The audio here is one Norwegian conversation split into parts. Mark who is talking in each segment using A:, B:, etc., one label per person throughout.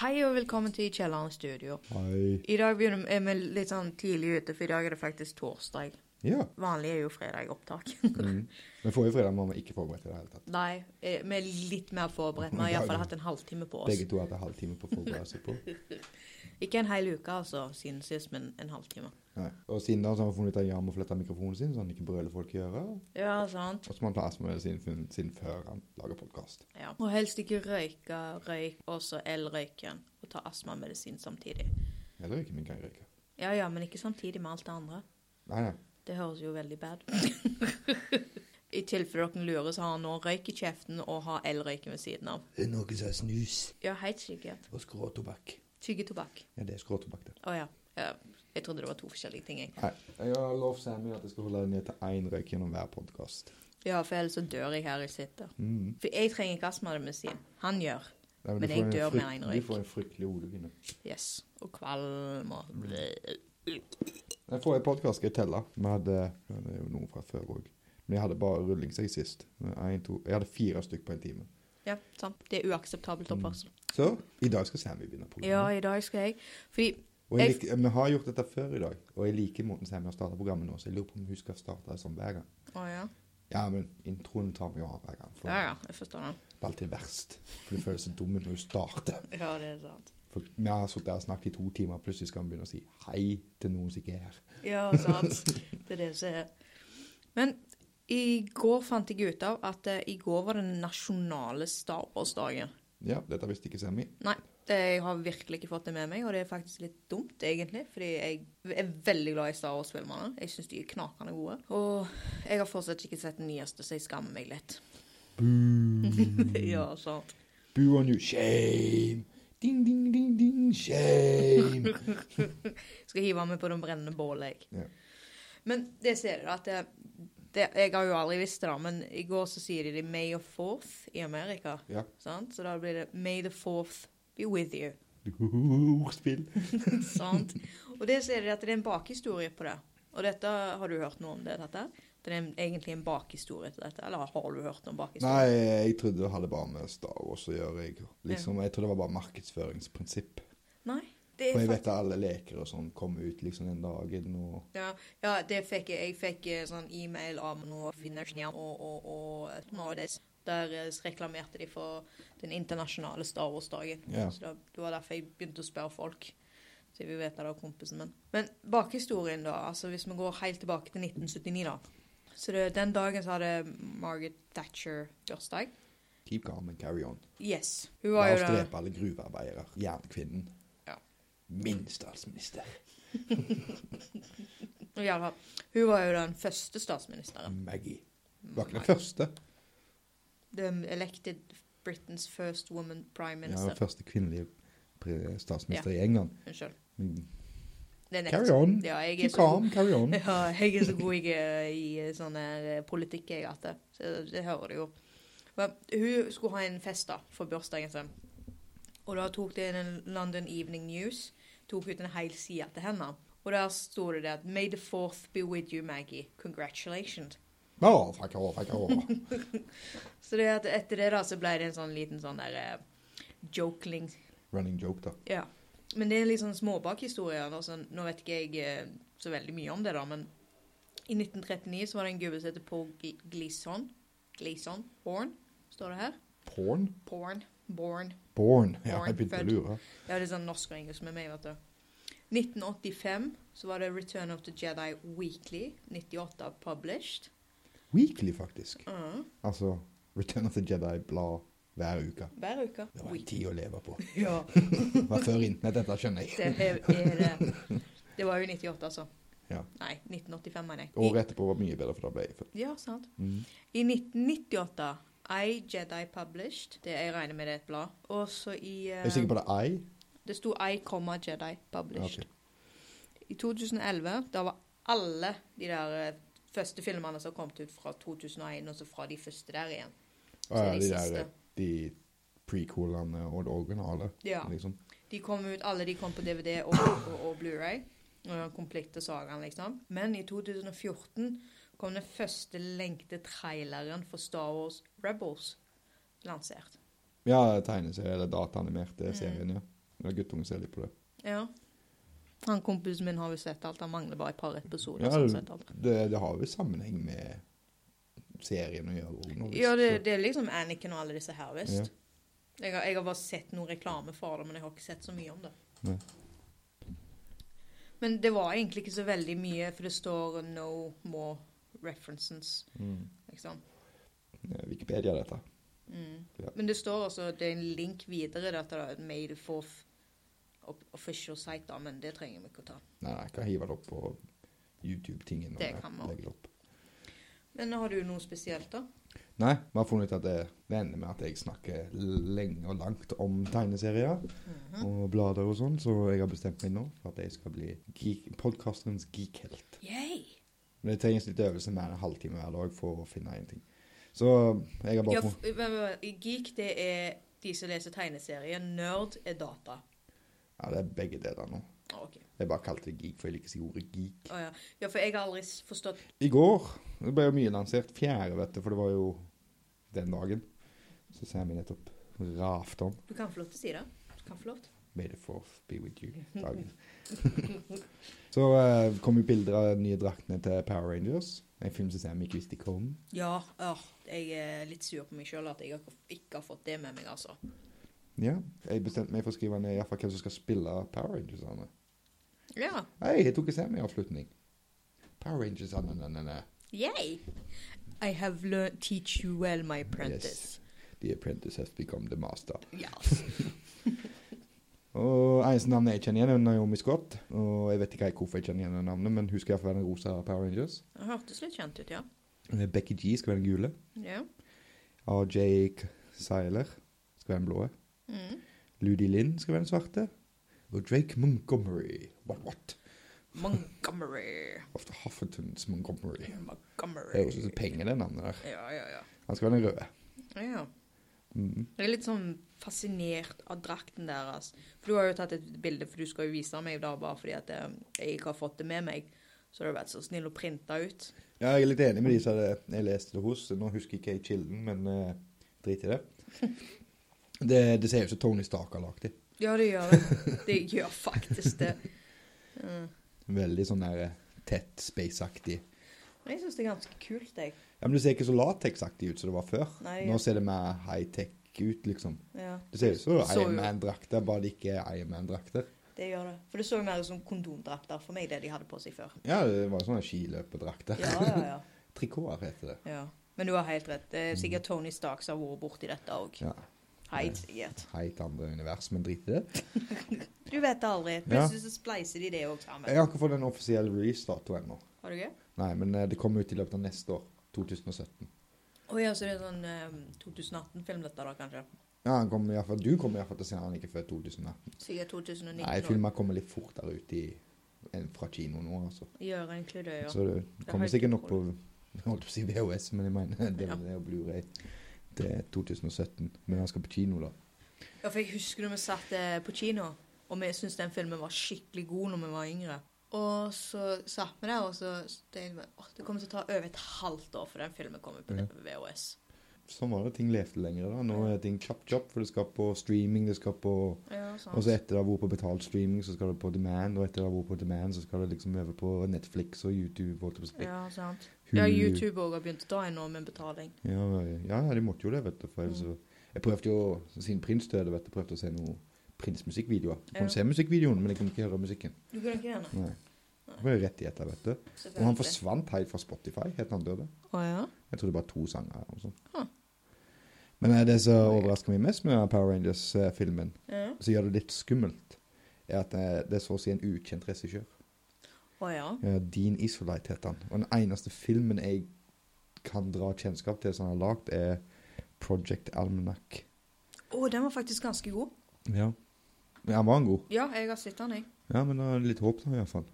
A: Hei og velkommen til Kjelleren studio.
B: Hei.
A: I dag begynner er vi litt sånn tidlig ute, for i dag er det faktisk torsdag.
B: Ja.
A: Vanlig er jo fredag opptak.
B: Mm. Men forrige fredag var vi ikke forberedt i det hele tatt.
A: Nei, eh, vi er litt mer forberedt. Vi har iallfall hatt en halvtime på oss.
B: Begge to hadde halvtime på å forberede seg på.
A: Ikke en hel uke, altså, siden sist, men en halvtime.
B: Nei. Og siden da så har vi funnet ut at Jan må flette mikrofonen sin, så han ikke brøler folk i øret.
A: Ja, sant.
B: Og så må han ta astmamedisin sin, sin før han lager podkast.
A: Ja. Og helst ikke røyke røyk, også el-røyken, og ta astmamedisin samtidig.
B: Eller ikke, men kan jeg røyke.
A: Ja ja, men ikke samtidig med alt det andre.
B: Nei, nei.
A: Det høres jo veldig bad I tilfelle dere lurer, så har han nå røyk i kjeften og har el-røyken ved siden av.
B: Det er noe som er snus
A: Ja, helt sikkert.
B: og skråtobakk.
A: Tyggetobakk.
B: Ja, det er skråtobakk, det.
A: Å ja. ja. Jeg trodde det var to forskjellige ting. jeg.
B: Nei. Jeg har lovt Sammy at jeg skal holde det ned til én røyk gjennom hver podkast.
A: Ja, for ellers så dør jeg her jeg sitter.
B: Mm.
A: For jeg trenger ikke astmamedisin. Han gjør.
B: Nei,
A: Men
B: du
A: jeg
B: får en
A: dør med
B: frykt-
A: en røyk.
B: Du får en fryktelig hodepine.
A: Yes. Og kvalm og
B: Den forrige podkast skal jeg telle. Vi hadde ja, det er jo noe fra før òg. Men jeg hadde bare rulling seg sist. Men En, to, jeg hadde fire stykk på en time.
A: Ja, sant. Det er uakseptabelt oppførsel.
B: Så i dag skal Sammy begynne
A: Ja,
B: programmet.
A: i dag skal jeg Fordi
B: og jeg
A: jeg-
B: liker, vi har gjort dette før i dag, og jeg liker måten Sammy har starta programmet nå, så jeg lurer på om hun skal starte det sånn hver gang.
A: Å ja.
B: Ja, men introen tar vi jo av hver gang. For
A: Ja ja, jeg forstår den.
B: Det er alltid verst. For du føler deg så dum når du starter.
A: Ja, det er sant.
B: For vi har sittet der og snakket i to timer, og plutselig skal vi begynne å si hei til noen som ikke er her.
A: Ja, sant. Det er det som er Men i går fant jeg ut av at eh, i går var den nasjonale stabersdagen.
B: Ja, dette visste ikke Sammy.
A: Nei, det, jeg har virkelig ikke fått det med meg, og det er faktisk litt dumt, egentlig. Fordi jeg er veldig glad i Star Wars-filmene. Jeg syns de er knakende gode. Og jeg har fortsatt ikke sett den nyeste, så jeg skammer meg litt. ja, sant.
B: Boo on you, shame! Ding, ding, ding, ding, shame!
A: Skal hive meg på den brennende bålet, jeg.
B: Ja.
A: Men det ser du at det, det, Jeg har jo aldri visst det, da, men i går så sier de det May the fourth i Amerika.
B: ja.
A: Sant? Så da blir det May the fourth be with you.
B: Ordspill.
A: Sant. Og det ser dere at det er en bakhistorie på det. Og dette, har du hørt noe om det? dette? Det er en, egentlig en bakhistorie til dette, eller har du hørt noe om
B: Nei,
A: bakhistorie?
B: jeg trodde det hadde bare med Star Wars å gjøre. Jeg, liksom, jeg trodde det var bare markedsføringsprinsipp.
A: Nei. Det er
B: For jeg
A: fakt-
B: vet at alle leker og sånn kommer ut liksom den dagen og
A: ja, ja, det fikk jeg. Jeg fikk eh, sånn e-mail av noen finner og, og, og Nordisk. Der eh, reklamerte de for den internasjonale Star Wars-dagen.
B: Ja.
A: Så da, Det var derfor jeg begynte å spørre folk. Så jeg vil vite det av kompisen min. Men bakhistorien, da. altså Hvis vi går helt tilbake til 1979, da. Så det, den dagen så hadde Margaret Thatcher bursdag.
B: Keep calm and carry on.
A: Yes. Hun
B: La
A: var jo
B: oss
A: da
B: drepe alle gruvearbeidere. Jernkvinnen.
A: Ja.
B: Min statsminister.
A: i alle fall, Hun var jo den første statsministeren.
B: Maggie.
A: Mm,
B: Var ikke den første.
A: The elected Britain's first woman prime
B: Ja, den
A: minister.
B: første kvinnelige pre- statsminister i England.
A: Unnskyld.
B: Mm.
A: Det er nett.
B: Carry on.
A: Ja, jeg er
B: Keep
A: så god.
B: calm, carry on.
A: Ja, jeg er så god jeg er i sånn her eh, politikk, jeg, at det, så det hører du jo. Men hun skulle ha en fest da, for bursdagen sin. Og da tok det en London Evening News, tok ut en hel side til henne. Og der sto det det at May the fourth be with you, Maggie. Congratulations.
B: Å, fuck off, fuck off.
A: Så det at etter det da, så ble det en sånn liten sånn der eh, jokeling
B: Running joke, da.
A: Ja. Men det er litt sånn småbakhistorier. Altså, nå vet ikke jeg eh, så veldig mye om det, da, men i 1939 så var det en gubbe som heter Paul G- Gleason. Gleason? Born, står det her.
B: Porn?
A: Born. Born.
B: Born. Ja,
A: Born,
B: jeg begynte å
A: født.
B: lure.
A: Ja, det er sånn norsk og engelsk med meg, vet du. 1985 så var det Return of the Jedi Weekly, 98 published.
B: Weekly, faktisk.
A: Mhm.
B: Altså Return of the Jedi-blad hver uke.
A: Hver uke.
B: Det var en
A: Week-
B: tid å leve på.
A: Ja,
B: Det var før internett, dette skjønner jeg.
A: det er, er det. Det var jo 98, altså.
B: Ja.
A: Nei, 1985, mener jeg.
B: Året etterpå var mye bedre, for da ble jeg født.
A: I, ja, sant.
B: Mm.
A: I 1998 I Jedi Published. Det jeg regner med det er et blad. Og så i eh,
B: Er du sikker på det? I?
A: Det sto I, comma, Jedi Published.
B: Ok.
A: I 2011, da var alle de der eh, første filmene som kom ut fra 2001, og så fra de første der igjen.
B: Å ja,
A: Så
B: de
A: de
B: der eh,
A: siste.
B: de precoolene og det originale,
A: Ja.
B: liksom.
A: De kom ut, alle de kom på DVD og, og, og Blu-ray. eh, Og den komplette sagaen, liksom. Men i 2014 kom den første lengte traileren for Star Wars Rebels lansert.
B: Ja, tegneserie eller dataanimerte
A: Mm.
B: serien, ja. Ja, guttungen ser litt på det.
A: Ja. Han kompisen min har jo sett alt, han mangler bare et par episoder.
B: Ja,
A: så han har sett alt.
B: Det, det har jo sammenheng med serien å gjøre. også, nå, hvis-
A: ja det, det er liksom Anniken og alle disse her,
B: Ja.
A: visst. Jeg, har, jeg har bare sett noe reklame for det, men jeg har ikke sett så mye om det.
B: Nei.
A: Men det var egentlig ikke så veldig mye, for det står 'no more references',
B: Mm.
A: liksom.
B: Eh, Wikipedia, dette.
A: Mm.
B: Ja.
A: Men det står også det er en link videre der det er made for f- op- official site, da, men det trenger vi ikke å ta.
B: Nei, nei, jeg kan hive det opp på YouTube-tingen. når
A: Det
B: jeg
A: kan man.
B: legger det opp.
A: Men har du noe spesielt, da?
B: Nei, vi har funnet ut at det det ender med at jeg snakker lenge og langt om tegneserier
A: Mhm.
B: og blader og sånn, så jeg har bestemt meg nå for at jeg skal bli geek, podkasterens geekhelt.
A: Yay!
B: Men det trengs litt øvelse mer enn en halvtime hver dag for å finne én ting. Så jeg har
A: Ja,
B: bare
A: f- vent, vent, vent. geek det er de som leser tegneserier. Nerd er data.
B: Ja, det er begge deler nå.
A: Å, ok.
B: Jeg bare kalte det geek, for jeg liker ikke ordet geek.
A: Å, ja. ja, for jeg har aldri s- forstått
B: I går det ble jo mye lansert. Fjerde, vet du, for det var jo den dagen. Så ser vi nettopp raft om
A: Du kan få lov til å si det. Du kan få lov til.
B: May the fourth be with you-dagen. så eh, kom jo bilder av de nye draktene til Power Rangers. En film som vi ikke visste kom.
A: Ja, ja. Jeg er litt sur på meg sjøl at jeg ikke- ikke har fått det med meg, altså.
B: Ja, jeg bestemte meg for å skrive ned i hvert fall hvem som skal spille Power Rangers-ene.
A: Ja.
B: Hei, jeg tok ikke semiavslutning. Power Rangers, nei, nei, nei, nei.
A: Yay! I have learned teach you well, my apprentice.
B: Yes. The apprentice has become the master.
A: Ja.
B: Og eneste navnet jeg kjenner igjen, er Naomi Scott. Og jeg vet ikke helt hvorfor jeg kjenner igjen det navnet, men hun skal iallfall være den rosa Power Rangers.
A: Det hørtes litt kjent ut, ja.
B: Eh, Becky G skal være den gule.
A: Ja.
B: RJ Seiler skal være den blå.
A: Mm.
B: Ludi Linn skal være den svarte. Og Drake Montgomery What, what?
A: Montgomery.
B: Ofte Huffingtons Montgomery. Det
A: Montgomery.
B: høres ut som penger, det navnet der.
A: Ja, ja, ja.
B: Han skal være den røde.
A: ja.
B: Mm.
A: Jeg er litt sånn fascinert av drakten deres. For du har jo tatt et bilde, for du skal jo vise meg da, bare fordi at eh, jeg ikke har fått det med meg. Så har du vært så snill å printe ut.
B: Ja, jeg er litt enig med de som hadde- jeg leste det hos. Nå husker jeg ikke jeg kilden, men eh, drit i det. det. Det ser jo ut som Tony Stark har lagd det.
A: Ja, det gjør det. Det gjør faktisk det. Mm.
B: Veldig sånn der eh, tett, space-aktig.
A: Men jeg syns det er ganske kult, jeg.
B: Ja, men det ser ikke så latex-aktig ut som det var før.
A: Nei.
B: Nå ser det mer high-tech ut, liksom.
A: Ja,
B: Det ser ut som
A: Så jo.
B: Iron Man-drakter, bare det ikke er Iron Man-drakter.
A: det gjør det. For det så jo mer ut som kondomdrakter for meg, det de hadde på seg før.
B: Ja, det var sånne skiløperdrakter.
A: Ja, ja, ja.
B: Trikoter heter det.
A: ja. Men du har helt rett. Det er sikkert Tony Stark som har vært borti dette òg.
B: Ja.
A: Helt sikkert.
B: Helt andre univers, men drit i det.
A: Du vet aldri. Plutselig så spleiser de det òg
B: Jeg
A: sammen.
B: har ikke fått en offisiell release-dato ennå.
A: Har du det?
B: Nei, men eh, det kommer ut i løpet av neste år. 2017.
A: Å ja, så det er sånn 2018-film dette da, kanskje?
B: Ja, han kommer i hvert fall, du kommer iallfall til å se han ikke før 2018.
A: Sikkert 2019.
B: Nei, filmer kommer litt fortere ut i, enn fra kino nå, altså.
A: Gjør egentlig det, ja.
B: Så det kommer
A: helt
B: sikkert nok på
A: utrolig.
B: jeg holdt på å si VHS, men jeg mener DVD og Blu-ray til 2017. Men han skal på kino, da.
A: ja. For jeg husker når vi satt eh, på kino, og vi syntes den filmen var skikkelig god når vi var yngre. Og så satt vi der, og så tenkte vi at det kommer til å ta over et halvt år før den filmen kommer på
B: Ja.
A: VHS.
B: Sånn var det. Ting levde lenger da. Nå er ting chop-chop, for det skal på streaming. det skal på...
A: Ja, sant.
B: Og så etter det har vært på betalt streaming, så skal det på demand. Og etter det har vært på demand, så skal det liksom over på Netflix og YouTube. holdt jeg på å si.
A: ja, sant.
B: Hulu.
A: Ja, YouTube òg har begynt å ta inn noe med betaling.
B: Ja, ja, ja, de måtte jo det, vet du. For ellers
A: Mm.
B: så Jeg prøvde jo, siden Prins døde, vet du, prøvde å se noe Prins-musikkvideoer. Jeg kunne
A: Ja.
B: se musikkvideoen, men jeg kunne ikke høre musikken.
A: Du kunne ikke gjøre det?
B: Nei. Det var jo rettigheter, vet du. Og han
A: Selvfølgelig.
B: forsvant helt fra Spotify helt til han døde.
A: Å ja?
B: Jeg tror det var to sanger eller noe sånt.
A: Huh.
B: Men eh, det som overrasker meg mest med denne Power Rangers-filmen,
A: Ja.
B: som gjør det litt skummelt, er at eh, det er så å si en ukjent regissør.
A: Å ja.
B: Ja, Dean Eh, Isolite heter han. Og den eneste filmen jeg kan dra kjennskap til som han har lagd, er Project Almanac.
A: Å, den var faktisk ganske god.
B: Ja. Men han var en god.
A: Ja, jeg har sett den, jeg.
B: Ja, men det er litt håp nå i hvert fall.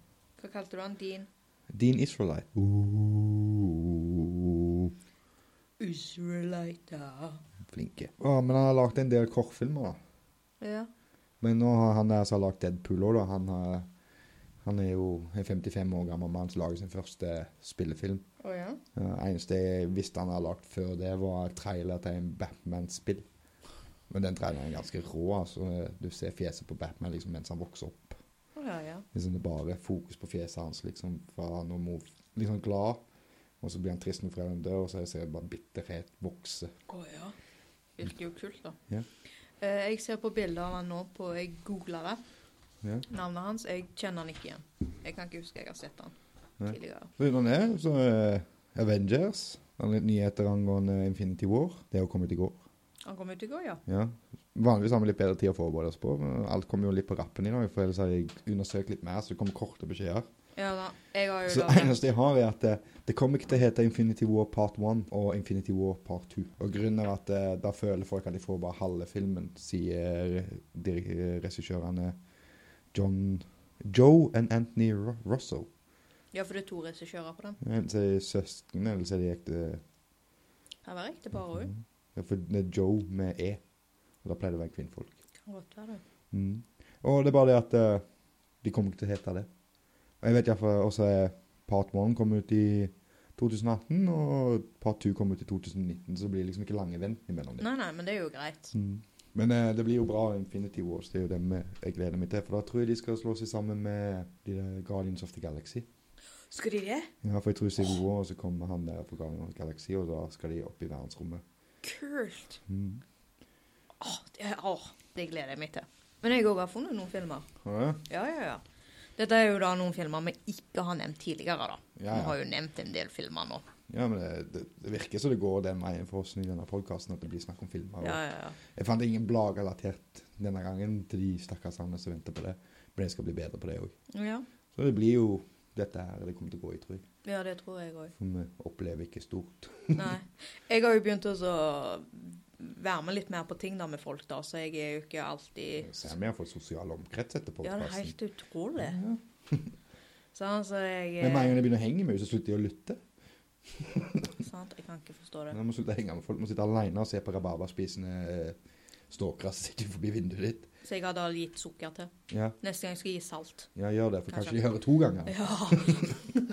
A: Hva kalte du den? Din?
B: Dean Israelite. Uh,
A: Israelita.
B: flinke. Ja, men han har lagd en del kortfilmer, da.
A: Ja.
B: Men nå har han der som har lagd Deadpool òg, da. Han, har, han er jo en 55 år gammel mann som lager sin første spillefilm.
A: Å ja.
B: Eh, Det eneste jeg visste han hadde lagd før det, var trailer til en Batman-spill. Men den traileren er ganske rå. altså. Du ser fjeset på Batman liksom, mens han vokser opp.
A: Å ja, ja.
B: Liksom Det er bare fokus på fjeset hans. liksom, Fra han er mor- liksom glad, og så blir han trist når foreldrene dør, og så ser jeg bare bitterhet vokse.
A: Å ja. Virker jo kult, da.
B: Ja.
A: Eh, jeg ser på bilder av han nå på Jeg googler det.
B: Ja.
A: Navnet hans. Jeg kjenner han ikke igjen. Jeg kan ikke huske jeg har sett han
B: Nei.
A: tidligere.
B: Så Utenom det, så eh, Avengers. Det er litt nyheter angående Infinity War. Det har kommet i går.
A: Han kom ut i går, ja.
B: Ja. Vanligvis har vi litt bedre tid å forberede oss på. men Alt kommer jo litt på rappen i dag, for ellers har jeg undersøkt litt mer, så det kommer korte beskjeder.
A: Ja da. Jeg har jo
B: Så det
A: laget-
B: eneste jeg har, er at eh, det kommer ikke til å hete Infinity War Part 1 og Infinity War Part 2. Og grunnen er at eh, da føler folk at de får bare halve filmen, sier dir- regissørene John Joe and Anthony Ru- Russo.
A: Ja, for det er to regissører på den.
B: Enten så er de søsken, eller så er de ekte
A: Her var riktig bare hun.
B: Ja, for det er Joe med E. Og da pleier det å være kvinnfolk.
A: Kan godt være det.
B: Mm. Og det er bare det at eh, de kommer ikke til å hete det. Og jeg vet iallfall også er part 1 kom ut i 2018, og part 2 kom ut i 2019, så det blir liksom ikke lange vent imellom det.
A: Nei, nei, men det er jo greit.
B: Mm. Men eh, det blir jo bra Infinity Wars, det er jo det vi- jeg gleder meg til. For da tror jeg de skal slå seg sammen med de der Guardians of the Galaxy.
A: Skal de det?
B: Ja, for jeg tror Civil War, og så kommer han der på Guardians of the Galaxy, og da skal de opp i verdensrommet.
A: Kult.
B: Mm.
A: Åh, det, åh, det gleder jeg meg til. Men jeg har også funnet noen filmer.
B: Ja,
A: Ja, ja, ja. Dette er jo da noen filmer vi ikke har nevnt tidligere, da.
B: Ja,
A: Vi
B: ja.
A: har jo nevnt en del filmer nå.
B: Ja, men det, det, det virker som det går den veien for oss i denne podkasten, at det blir snakk om filmer. og-
A: Ja, ja, ja.
B: Jeg fant ingen blad relatert denne gangen til de stakkarsene som venter på det. Men jeg skal bli bedre på det òg.
A: Ja,
B: Så det blir jo dette her det kommer til å gå i, tror jeg.
A: ja det tror jeg òg.
B: For vi opplever ikke stort.
A: Nei. Jeg har jo begynt også å være med litt mer på ting da med folk, da, så jeg er jo ikke alltid
B: Sammy har fått sosial omkrets etter
A: Ja, det er
B: podkasten.
A: helt utrolig. Sånn, så jeg
B: Mm. Men med en
A: eh,
B: gang de begynner å henge med henne, så slutter de å lytte.
A: Sant, jeg kan ikke forstå det.
B: Men de må slutte å henge med folk. De Må sitte alene og se på rabarbraspisende stalkere som sitter forbi vinduet ditt.
A: Så jeg hadde aldri gitt sukker til.
B: Ja,
A: Neste gang skal jeg gi salt.
B: ja gjør det, for
A: Kanskje.
B: kanskje de hører to ganger.
A: Ja.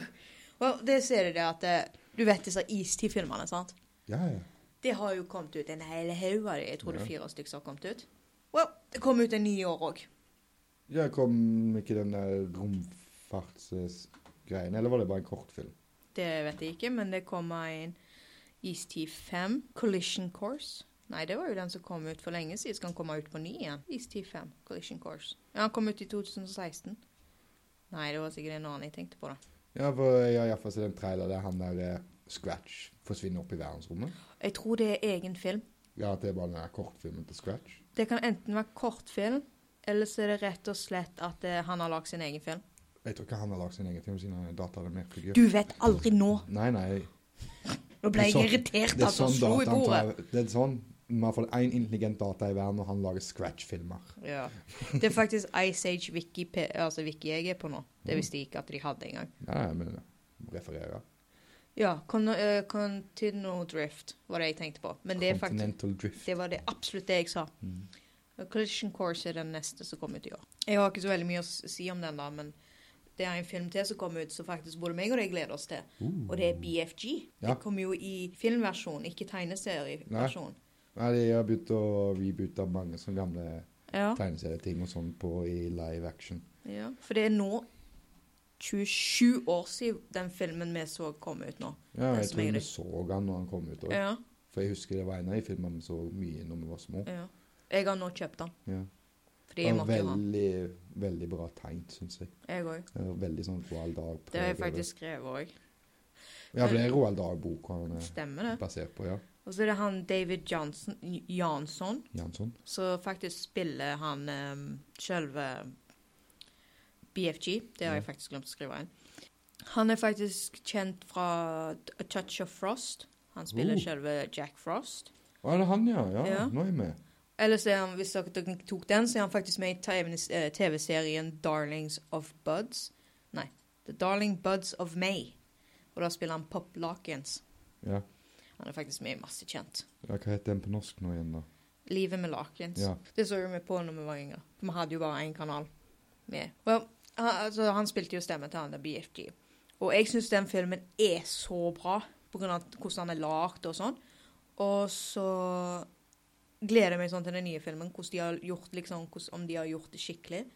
A: well, det ser du det at eh, Du vet disse istidfilmene, sant?
B: Ja, ja.
A: Det har jo kommet ut en hel haug av dem. Jeg tror det
B: Ja.
A: er fire stykker som har kommet ut. Well, det kom ut en ny i år òg.
B: Ja, kom ikke den der romfartsgreien, eller var det bare en kortfilm?
A: Det vet jeg ikke, men det kom en Istid 5 Collision Course. Nei, det var jo den som kom ut for lenge siden. Skal den komme ut på ny igjen? Istid 5 Collision Course. Ja, han kom ut i 2016. Nei, det var sikkert en annen jeg tenkte på, da.
B: Ja, for jeg har iallfall sett en trailer der han der eh, Scratch forsvinner opp i verdensrommet.
A: Jeg tror det er egen film.
B: Ja, at det er bare den der kortfilmen til Scratch.
A: Det kan enten være kortfilm, eller så er det rett og slett at eh, han har lagd sin egen film.
B: Jeg tror ikke han har lagd sin egen film siden han er dataanimerfigur.
A: Du vet aldri nå!
B: Nei, nei.
A: Nå ble
B: Det er
A: jeg
B: sånn-
A: irritert
B: Det
A: at
B: er
A: han
B: sånn
A: slo i
B: data
A: bordet.
B: tar, Det er sånn Vi har fått én intelligent data i verden, og han lager Scratch-filmer.
A: Ja. Det er faktisk Ice Age Wiki, P- altså Wiki jeg er på nå.
B: Mm.
A: Det visste jeg ikke at de hadde engang.
B: Nei, men refererer.
A: Ja, Con eh, Continental Drift var det jeg tenkte på. Men det, er faktisk,
B: Continental Drift.
A: det var det absolutt det jeg sa.
B: Mm.
A: Collision Course er den neste som kom ut i år. Jeg har ikke så veldig mye å s- si om den, da, men det er en film til som kom ut som faktisk både meg og deg gleder oss til.
B: Uh.
A: Og det er BFG.
B: Ja.
A: Det kommer jo i filmversjon, ikke tegneserieversjon.
B: Nei, de har begynt å reboote mange sånne gamle
A: Ja.
B: tegneserieting og sånn på i live action.
A: ja. For det er nå 27 år siden den filmen vi så kom ut nå.
B: Ja,
A: Det
B: jeg
A: som er
B: tror vi
A: greit.
B: så han når han kom ut òg.
A: Ja.
B: For jeg husker det var en av de filmene vi så mye når vi var små.
A: ja. Jeg har nå kjøpt den.
B: Ja.
A: Fordi jeg
B: var
A: måtte jo ha den.
B: veldig, veldig bra tegnet, syns jeg.
A: Jeg òg.
B: Det var veldig sånn Roald Dahl.
A: Det har jeg faktisk skrevet òg.
B: Ja, for det er Roald Dahl-boka han er
A: Stemmer det.
B: basert på, ja.
A: Og så er det han David Johnson, Jansson
B: Jansson.
A: som faktisk spiller han um, sjølve BFG. Det har jeg faktisk glemt å skrive inn. Han er faktisk kjent fra A Touch of Frost. Han spiller
B: Oh.
A: sjølve Jack Frost.
B: Å, er det han, ja? Ja,
A: Ja.
B: nå er jeg med.
A: Eller så er han, hvis dere ikke tok den, så er han faktisk med i TV- eh, TV-serien Darlings of Buds. Nei, The Darling Buds of May. Og da spiller han Pop Larkins.
B: Ja.
A: Han er faktisk med i masse kjent.
B: ja, hva heter den på norsk nå igjen, da?
A: Livet med Larkins.
B: Ja.
A: Det så jo vi på når vi var yngre. Vi hadde jo bare én kanal med. Well, han, altså, han spilte jo stemmen til han der BFG. Og jeg syns den filmen er så bra pga. hvordan han er lagd og sånn. Og så gleder meg sånn til den nye filmen. Hvordan de har gjort, liksom, hvordan, om de har gjort det skikkelig.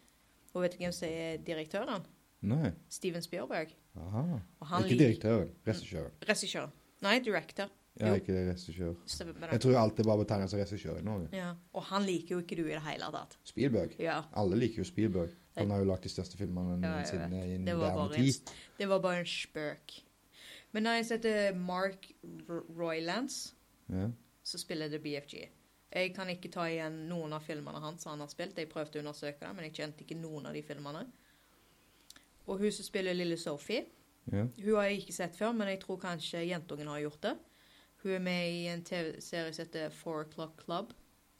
A: Og vet du hvem som er direktøren?
B: Nei.
A: Steven Spielberg.
B: Aha.
A: Og han
B: ikke
A: liker
B: direktøren. Regissøren.
A: Regissør. Nei, director.
B: Ja,
A: Jo.
B: ikke regissør.
A: Stemmer
B: Jeg
A: det.
B: tror alt er bare betegnet som regissør i Norge.
A: Ja. Og han liker jo ikke du i det hele tatt.
B: Spielberg.
A: Ja.
B: Alle liker jo Spielberg. Han har jo lagd de største filmene
A: Ja, jeg
B: noensinne i
A: Det var,
B: moderne
A: bare en,
B: tid.
A: det var bare en spøk. Men når jeg setter Mark R- Roylance,
B: Ja.
A: så spiller det BFG. Jeg kan ikke ta igjen noen av filmene hans han har spilt. Jeg prøvde å undersøke det, men jeg kjente ikke noen av de filmene. Og hun som spiller lille Sophie,
B: Ja.
A: hun har jeg ikke sett før, men jeg tror kanskje jentungen har gjort det. Hun er med i en TV-serie som heter Four O'Clock Club.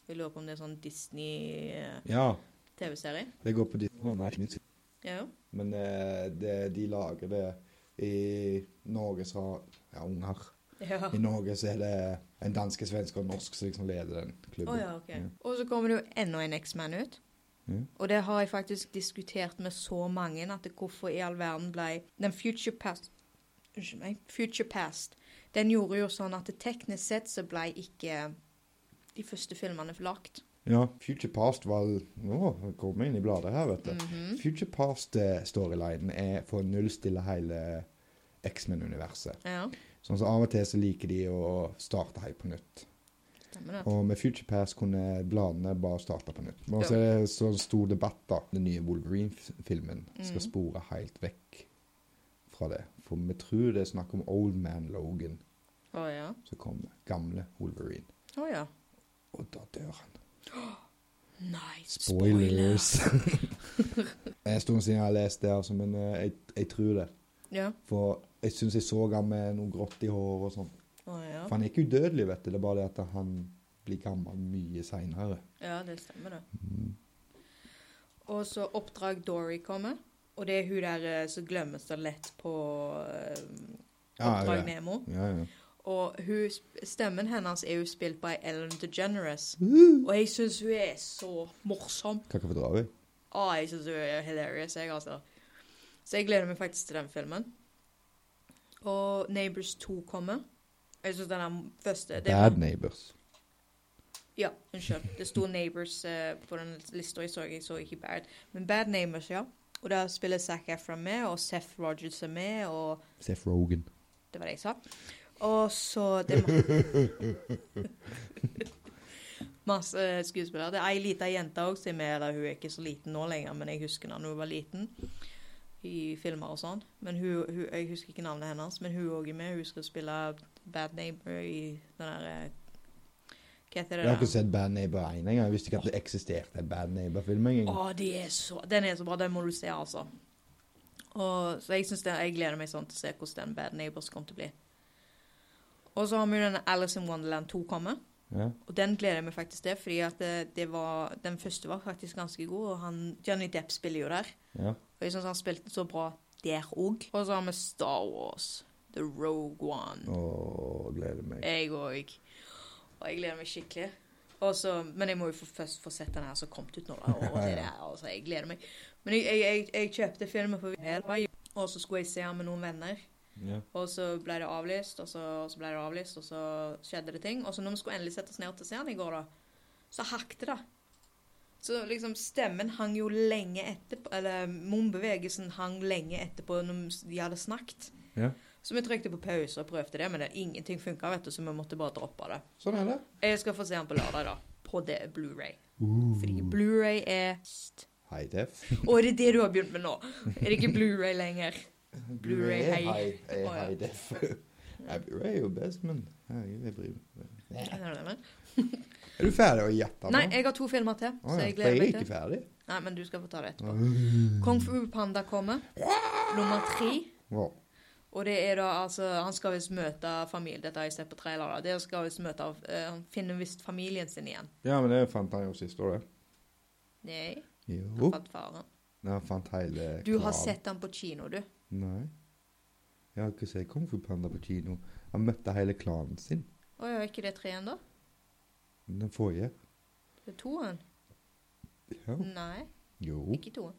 A: Jeg lurer på om det er sånn eh, Disney-TV-serie.
B: ja. Det går på de Å, nei, nytt.
A: Ja, jo.
B: Men eh, det, de lager det i Norge så Ja, unger.
A: Ja.
B: I Norge så er det en danske, svenske og en norsk som liksom leder den klubben.
A: Å ja, ok. Og så kommer det jo enda en X-Man ut.
B: Ja.
A: Og det har jeg faktisk diskutert med så mange, at det, hvorfor i all verden ble den Future Past Unnskyld meg. Future Past. Den gjorde jo sånn at det teknisk sett så ble ikke de første filmene lagt.
B: Ja, Future Past var Nå kommer jeg inn i bladet her, vet du.
A: Mm. Mhm.
B: Future Past-storylinen er for å nullstille hele X-Men-universet.
A: Ja,
B: Sånn som Av og til så liker de å starte helt på nytt.
A: stemmer det.
B: Og med Future Past kunne bladene bare starte på nytt. Men så er det så en stor debatt, da. Den nye Wolverine-filmen skal
A: Mhm.
B: spore helt vekk fra det. For vi tror det er snakk om Old Man Logan
A: Å ja.
B: som kommer. Gamle Wolverine.
A: Å ja.
B: Og da dør han.
A: Nei, spoiler.
B: Spoilers. Det er en stund siden jeg har lest det, altså, men eh, jeg, jeg tror det.
A: Ja.
B: For jeg syns jeg så han med noe grått i håret og sånn.
A: Å ja.
B: For han er ikke udødelig, vet du. Det er bare det at han blir gammel mye seinere.
A: Ja, det stemmer, det. Og så Oppdrag Dory kommer. Og det er hun der eh, som glemmer så lett på eh,
B: Ja,
A: Oppdrag
B: ja.
A: Nemo.
B: Ja, ja.
A: Og hun, sp- stemmen hennes er jo spilt by Ellen DeGeneres.
B: Uh.
A: Og jeg syns hun er så morsom.
B: Kan ikke få dra over.
A: Å, jeg syns hun er hilarious, jeg, altså. Så jeg gleder meg faktisk til den filmen. Og Neighbors 2 kommer. Jeg syns den er den første det
B: Bad Neighbors.
A: Ja, unnskyld. Det sto Neighbors eh, på den lista jeg så. Jeg så ikke Bad. Men Bad Neighbors, ja. Og der spiller Zac Efron med, og Seth Rogers er med, og
B: Seth Rogan.
A: Det var det jeg sa. Og så det er ma Masse eh, skuespillere. Det er ei lita jente òg som er med, eller hun er ikke så liten nå lenger, men jeg husker henne da hun var liten. I filmer og sånn. Men hun, hun, Jeg husker ikke navnet hennes, men hun òg er med. Hun skal spille Bad Neighbor i den der eh, Hva heter
B: Jeg har
A: det?
B: ikke
A: der?
B: sett Bad Neighbor 1 engang. Jeg visste ikke at det eksisterte en Bad Neighbor-film
A: Å,
B: engang.
A: de er så, den er så bra. Den må du se, altså. Og, så jeg, synes det, jeg gleder meg sånn til å se hvordan den Bad Neighbors kommer til å bli. Og så har vi jo denne Alice in Wonderland 2 komme.
B: Ja.
A: Og den gleder jeg meg faktisk til, fordi at det, det var, den første var faktisk ganske god. Og han, Johnny Depp spiller jo der.
B: Ja.
A: Og jeg syns han spilte så bra der òg. Og så har vi Star Wars, The Rogue One.
B: Åh, gleder meg.
A: Jeg òg. Og jeg gleder meg skikkelig. Og så- men jeg må jo få, først få sett den her som kom ut nå. da, Og det der, altså, jeg gleder meg. Men jeg, jeg, jeg, jeg kjøpte filmen for Velvei, og så skulle jeg se den med noen venner.
B: Ja.
A: Og så ble det avlyst, og så, og så ble det avlyst, og så skjedde det ting. Og så når vi skulle endelig sette oss ned til å se den i går, da, så hakte det. Så liksom stemmen hang jo lenge etterpå, eller munnbevegelsen hang lenge etterpå når de hadde snakket.
B: Ja.
A: Så vi trykte på pause og prøvde det, men det, ingenting funka, vet du, så vi måtte bare droppe det.
B: Sånn er det.
A: Jeg skal få se den på lørdag, da. På det Blu-ray. Fordi
B: Uh.
A: Blu-ray er
B: High def.
A: Å, er det det du har begynt med nå? Er det ikke Blu-ray lenger? Blu-ray
B: er
A: high-
B: high, er
A: Å, ja.
B: high def. Nei, Blu-ray er jo best, men herregud, jeg bryr meg.
A: Er det det med?
B: Er du ferdig å gjette nå?
A: Nei, jeg har to filmer til,
B: Å,
A: så
B: ja.
A: jeg
B: For
A: gleder
B: jeg
A: meg
B: er ikke
A: til.
B: ferdig.
A: Nei, men du skal få ta det etterpå. Kung Fu Panda kommer. Nummer tre.
B: Wow.
A: Og det er da altså Han skal visst møte familien Dette har jeg sett på trailer. da. Det skal visst møte eh, Han finner visst familien sin igjen.
B: Ja, men det fant han jo sist år, det.
A: Nei,
B: Jo.
A: han fant faren.
B: Nei, han fant hele
A: Du har
B: klanen.
A: sett han på kino, du.
B: Nei. Jeg har ikke sett Kung Fu Panda på kino. Han møtte hele klanen sin.
A: Å ja, er ikke det treen, da?
B: Den forrige.
A: Det er toen?
B: Ja.
A: Nei,
B: Jo.
A: ikke toen.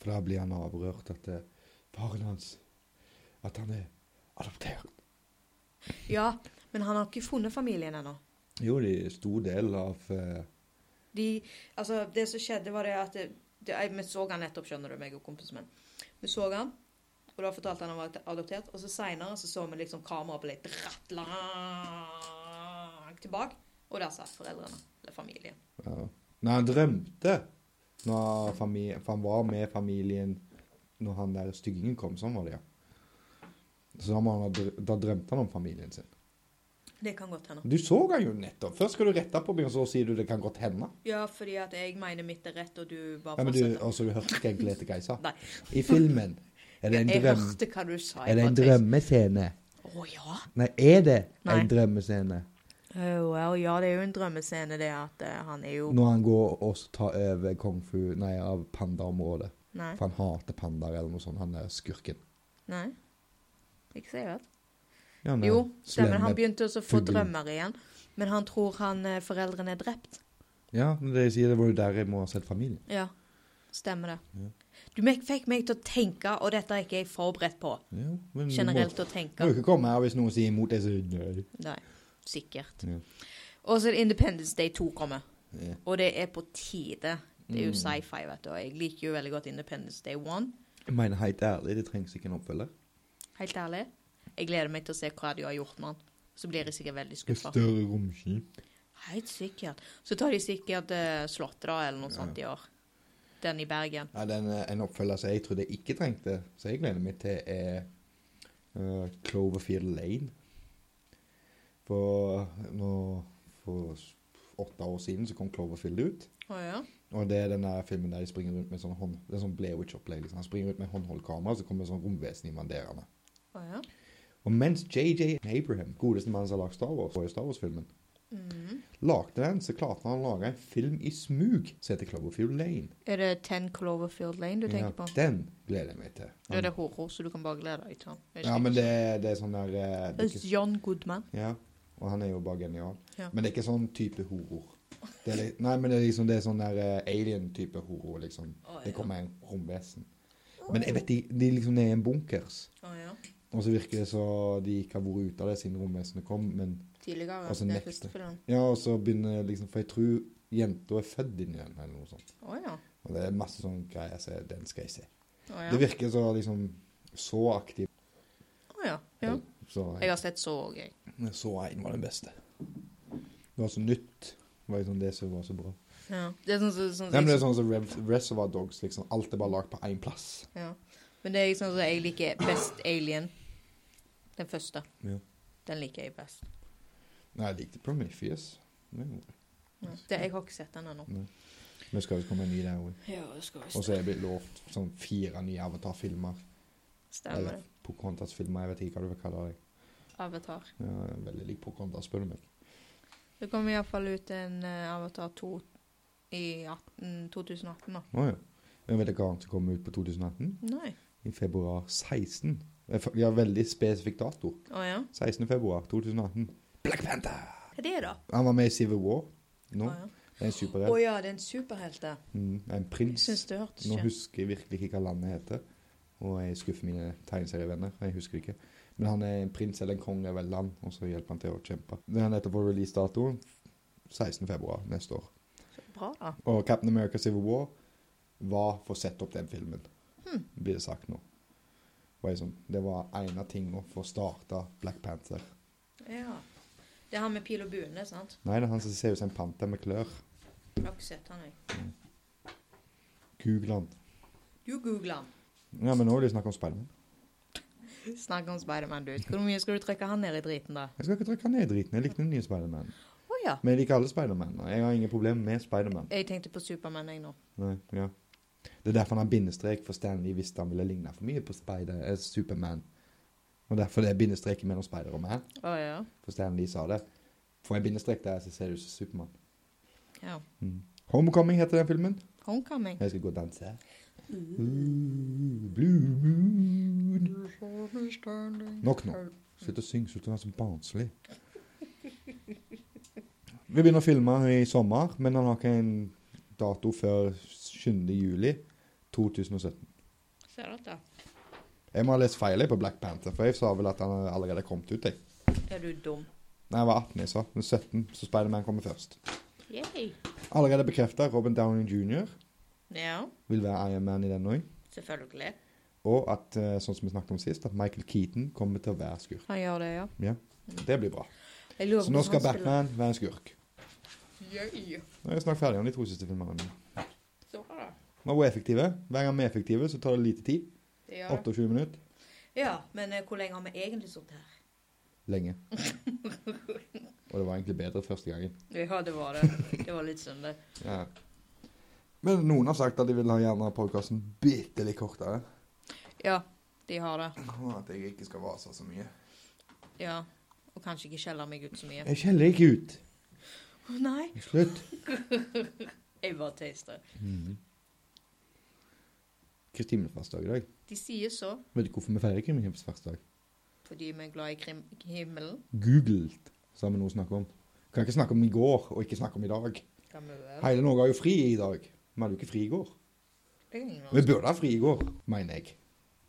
B: For da blir han avrørt at eh, faren hans At han er adoptert.
A: Ja, men han har ikke funnet familien ennå.
B: Jo, de stor del av eh,
A: De, altså, det som skjedde, var det at det, det, jeg- Vi så han nettopp, skjønner du, meg og kompisen min. Vi så han, og da fortalte han han var adoptert. Og så seinere så, så vi liksom kameraet på litt dratt langt tilbake, og der satt foreldrene. Eller familien.
B: ja. Nei, han drømte når familien, for han var med familien når han der styggingen kom. Sånn var det, ja. Så da, må han ha dr- da drømte han om familien sin.
A: Det kan godt hende.
B: Du så han jo nettopp. Først skal du rette på meg, og så sier du det kan godt hende.
A: Ja, fordi at jeg mener mitt er rett, og du bare
B: Ja, men du,
A: fortsetter.
B: altså, du hørte ikke egentlig etter hva jeg sa.
A: Nei.
B: I filmen er det en,
A: Jeg
B: drøm,
A: hørte hva du sa.
B: er det en drømmescene.
A: Å ja.
B: Nei, er det
A: Nei.
B: en drømmescene
A: Oh, well, ja, det er jo en drømmescene, det at eh, han er jo
B: når han går og så tar over kung fu, nei, av pandaområdet?
A: Nei.
B: For han hater pandaer eller noe sånt. Han er skurken.
A: nei. Ikke så jeg vet.
B: Ja, han er
A: Jo, stemmer. Han
B: slemme.
A: begynte også å få
B: fuglen.
A: drømmer igjen. Men han tror han eh, foreldrene er drept.
B: Ja, men det jeg sier, det var jo der jeg må ha sett familien.
A: Ja, stemmer det.
B: Ja.
A: Du mek- fikk meg til å tenke, og dette er ikke jeg forberedt på.
B: Jo, men du
A: Generelt å
B: Mm, må, må
A: tenke.
B: jo ikke komme her hvis noen sier imot deg, så nei.
A: Nei, sikkert.
B: Ja.
A: Og så er det Independence Day 2 kommer.
B: Ja.
A: Og det er på tide. Det er jo
B: Mm.
A: sci-fi, vet du. Og jeg liker jo veldig godt Independence Day 1.
B: Jeg mener helt ærlig, det trengs ikke en oppfølger.
A: Helt ærlig. Jeg gleder meg til å se hva de har gjort med han. Så blir jeg sikkert veldig
B: Et
A: skuffa.
B: større romskip.
A: Helt sikkert. Så tar de sikkert eh, Slottet, da, eller noe
B: Ja.
A: sånt i år. Den i Bergen.
B: Ja, den, eh, en oppfølger som jeg trodde jeg ikke trengte, så jeg gleder meg til, er eh, Cloverfield Lane. For, nå, for s- åtte år siden så kom Cloverfield ut.
A: Å ja.
B: Og det er den der filmen der de springer rundt med sånn hånd... Det er sånn Blair Witch-opplegg. Liksom. Han springer rundt med håndholdkamera, så kommer det sånn romvesen i manderene.
A: Å ja.
B: Og mens JJ Abraham, godeste mannen som har lagd Star Wars, og Star Wars-filmen,
A: Mhm.
B: lagde den, så klarte han å lage en film i smug som heter Cloverfield Lane.
A: Er det 10 Cloverfield Lane du tenker på?
B: Den gleder jeg meg til.
A: Da er det horror, så du kan bare glede deg til han. Er det
B: Ja,
A: ikke-
B: men det, det er sånn der eh, det
A: Det
B: er
A: er
B: ikke,
A: John Goodman.
B: Ja, og han er jo bare genial.
A: Ja.
B: Men det er ikke sånn type horror. Det er litt, nei, men det er liksom det er sånn der eh, alien-type horror, liksom.
A: Å,
B: Det
A: ja.
B: kommer en romvesen. Men jeg vet de, de liksom er i en bunkers.
A: Å, ja.
B: Og så virker det så de ikke har vært ute av det siden romvesenet kom, men
A: Tidligere.
B: Og så
A: det er
B: nekter.
A: første filmen.
B: Ja, og så begynner det liksom For jeg tror jenta er født inn i den, eller noe sånt.
A: Å ja.
B: Og det er masse sånne greier, så den skal jeg se.
A: Å ja.
B: Det virker så liksom så aktiv.
A: Å, ja. ja.
B: Så
A: Jeg har sett så òg, jeg.
B: så én var den beste. Det var så nytt. Det var liksom det som var så bra.
A: Ja. Det er sånn som sånn,
B: Nei, men det er
A: jeg-
B: sånn som Rev- Reservoir Dogs, liksom. Alt er bare lagd på én plass.
A: ja. Men det er sånn som jeg liker best Alien. Den første.
B: Ja.
A: Den liker jeg best.
B: Nei, jeg likte Prometheus. Men
A: Ja. Det, jeg har ikke sett den ennå.
B: men det skal jo komme en ny der òg.
A: Ja, det skal visst
B: Og så er jeg blitt lovt sånn fire nye Avatar-filmer.
A: Stemmer det.
B: Eller Pocahontas-filmer, jeg vet ikke hva du vil kalle det.
A: Avatar.
B: Ja, jeg er veldig lik Pocahontas, spør du meg.
A: Det kom iallfall ut en eh, Avatar 2 i 18, 2018, da.
B: Å ja. Men vet dere hva annet som kommer ut på 2018?
A: Nei.
B: I februar 16. Vi har veldig spesifikk dato.
A: Å ja?
B: 16. februar 2018. Black Panther!
A: Hva er det, da?
B: Han var med i Civil War nå.
A: Å ja.
B: Det er en
A: Å
B: superhelt.
A: ja, det er en superhelt, det.
B: Mm, en
A: Jeg
B: prins.
A: syns det hørtes
B: Nå
A: kjent
B: husker jeg virkelig ikke hva landet heter. Og jeg skuffer mine tegneserievenner. Jeg husker det ikke. Men han er en prins eller en konge over et land, og så hjelper han til å kjempe. Det er nettopp på releasedatoen 16. februar neste år.
A: Bra, da.
B: Og Captain America Civil War var for å sette opp den filmen, blir det sagt nå. Og jeg sånn, Det var en av tingene for å starte Black Panther.
A: Ja. Det er han med pil og buene, sant?
B: Nei, det er han som ser ut som en panter med klør.
A: Jeg har ikke sett han, jeg.
B: Google han.
A: Du googler han.
B: Ja, men nå vil de snakke om Spiderman.
A: Snakk om Spiderman, du. Hvor mye skal du trekke han ned i driten, da?
B: Jeg skal ikke trykke ned i driten. Jeg likte den nye Spiderman.
A: Å ja.
B: Men jeg liker alle Spiderman. og Jeg har ingen problemer med Spiderman.
A: Jeg tenkte på Supermann, jeg, nå.
B: Nei, ja. Det er derfor han har bindestrek, for Stanley visste han ville ligne for mye på Spider, eh, Superman. Og derfor det er bindestreken mellom Spider og Man.
A: Å ja.
B: For Stanley sa det. Får jeg bindestrek der, så ser du ut som Supermann.
A: ja.
B: Mm. Homecoming heter den filmen.
A: Homecoming.
B: Jeg skal gå og danse. Ooh, Blue moon. Nok nå. Slutt å synge, slutt å være så barnslig. Vi begynner å filme i sommer, men han har ikke en dato før 7. juli 2017.
A: Ser du dette?
B: Jeg må ha lest feil jeg, på Black Panther, for jeg sa vel at han allerede kommet ut. Jeg.
A: Er du dum?
B: Nei, jeg var 18 jeg sa. Men 17, så Spiderman kommer først.
A: Yay.
B: Allerede bekrefta Robin Downey jr.
A: Ja,
B: vil være Iron Man i den òg.
A: selvfølgelig.
B: Og at, eh, sånn som vi snakket om sist, at Michael Keaton kommer til å være skurk.
A: Han gjør det, ja.
B: Det blir bra.
A: Jeg lurer
B: Så
A: på
B: nå
A: om
B: skal
A: han spiller-
B: Batman være en skurk.
A: Yay.
B: Nå er jeg snart ferdig om de to siste filmene. mine.
A: Så bra.
B: Nå er vi effektive. Hver gang vi er effektive, så tar det lite tid.
A: Det gjør det.
B: 28 minutter.
A: Ja, men eh, hvor lenge har vi egentlig sittet her?
B: Lenge. Og det var egentlig bedre første gangen.
A: Ja, det var det. Det var litt synd, det.
B: Ja. Men noen har sagt at de vil ha gjerne podkasten bitte litt kortere.
A: Ja, de har det.
B: Og at jeg ikke skal vase så mye.
A: Ja. Og kanskje ikke skjeller meg ut så mye.
B: Jeg skjeller ikke ut.
A: Å, Nei,
B: Slutt.
A: jeg bare tøyster.
B: Mhm. Kristimelfartsdag i dag.
A: De sier så
B: Vet du hvorfor vi feirer kristimelfartsdag?
A: fordi vi er glad i krim himmelen.
B: Googlet, så har vi noe å snakke om. Kan ikke snakke om i går, og ikke snakke om i dag.
A: Kan vi være?
B: Hele Norge har jo fri i dag. Vi hadde jo ikke fri i går.
A: Det kan ingen av
B: Vi
A: oss.
B: burde ha fri i går, mener jeg.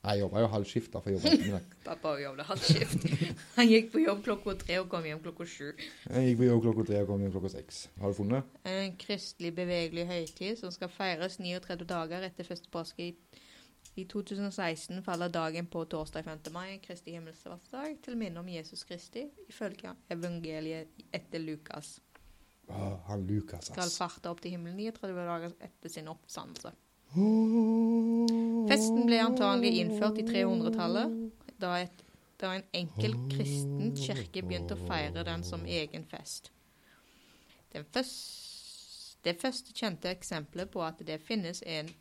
B: Jeg jobba jo halv skift, derfor jobba jeg ikke med det.
A: Pappa jobbet halv skift. Han gikk på jobb klokka tre og kom hjem klokka sju.
B: Jeg gikk på jobb klokka tre og kom hjem klokka seks. Har du funnet? det?
A: En kristelig bevegelig høytid som skal feires 39 dager etter første påske i, i 2016, faller dagen på torsdag 5. mai, Kristi himmelsfartsdag, til minne om Jesus Kristi, ifølge evangeliet etter Lukas.
B: Å, han Lukas,
A: Skal
B: ass.
A: farte opp til himmelen 39 dager etter sin oppstandelse.
B: Åh.
A: Festen ble antagelig innført i 300-tallet, da, et, da en enkel kristen kirke begynte å feire den som egen fest. Den først, det første kjente eksempelet på at det finnes en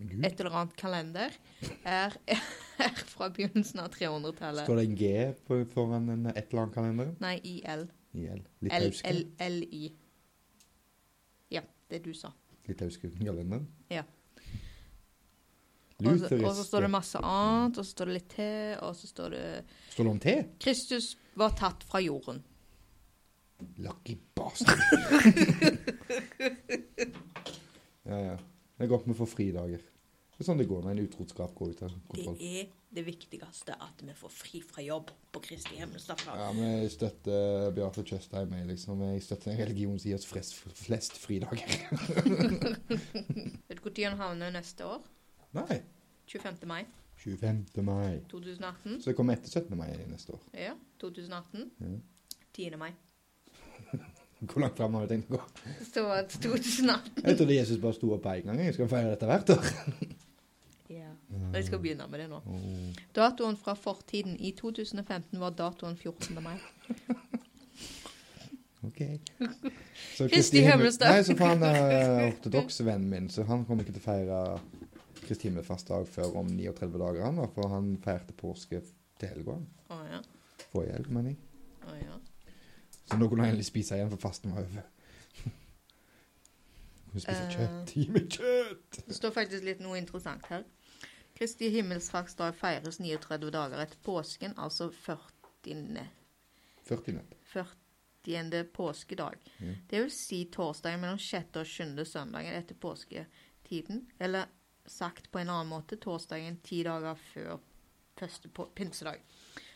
B: Gud,
A: et eller annet kalender, er, er fra begynnelsen av 300-tallet.
B: Står det en G på, foran en et eller annet kalender?
A: Nei, IL.
B: IL. Litauiske.
A: LLI. Ja, det du sa.
B: Litauiske kalenderen?
A: Ja. Og så-
B: Lutheriske.
A: og så står det masse annet, og så står det litt til, og så står det
B: Står det om te?
A: Kristus var tatt fra jorden.
B: Lucky bastard. ja, ja. Det er godt vi får fridager. Det er sånn det går når en utroskap går ut av
A: Det
B: kontroll.
A: er det viktigste at vi får fri fra jobb på Kristi himmelsdag.
B: Ja, men jeg støtter Beate Tjøstheim. Jeg, liksom. jeg støtter en religion som gir oss flest, flest fridager.
A: Vet du når han havner neste år?
B: Nei.
A: 25. mai
B: 25. mai.
A: 2018.
B: Så det kommer etter 17. mai neste år.
A: Ja, 2018.
B: Mhm.
A: 10. mai.
B: Hvor langt fram har vi tenkt å gå?
A: Så at 2018
B: Jeg trodde Jesus bare sto opp én gang. Jeg skal feire dette hvert år.
A: Ja. Jeg skal begynne med det nå.
B: Åh.
A: Datoen fra fortiden i 2015 var datoen 14. mai.
B: Ok. Så
A: Kristi himmelstad.
B: Nei, så faen uh, ortodoks vennen min, så han kommer ikke til å feire Kristi himmelfartsdag før om 39 dager, han da, for han feirte påske til helga.
A: Å ja.
B: Forrige helg, mener jeg.
A: Å ja.
B: Så nå kunne han endelig spise igjen, for fasten var over. Kunne spise
A: Eh.
B: kjøtt. Gi meg kjøtt!
A: Det står faktisk litt noe interessant her. Kristi himmelsfartsdag feires 39 dager etter påsken, altså 40.
B: 40 nett.
A: 40. påskedag.
B: Ja.
A: Det vil si torsdagen mellom 6. og 7. søndagen etter påsketiden, eller sagt på en annen måte torsdagen ti dager før første på- pinsedag.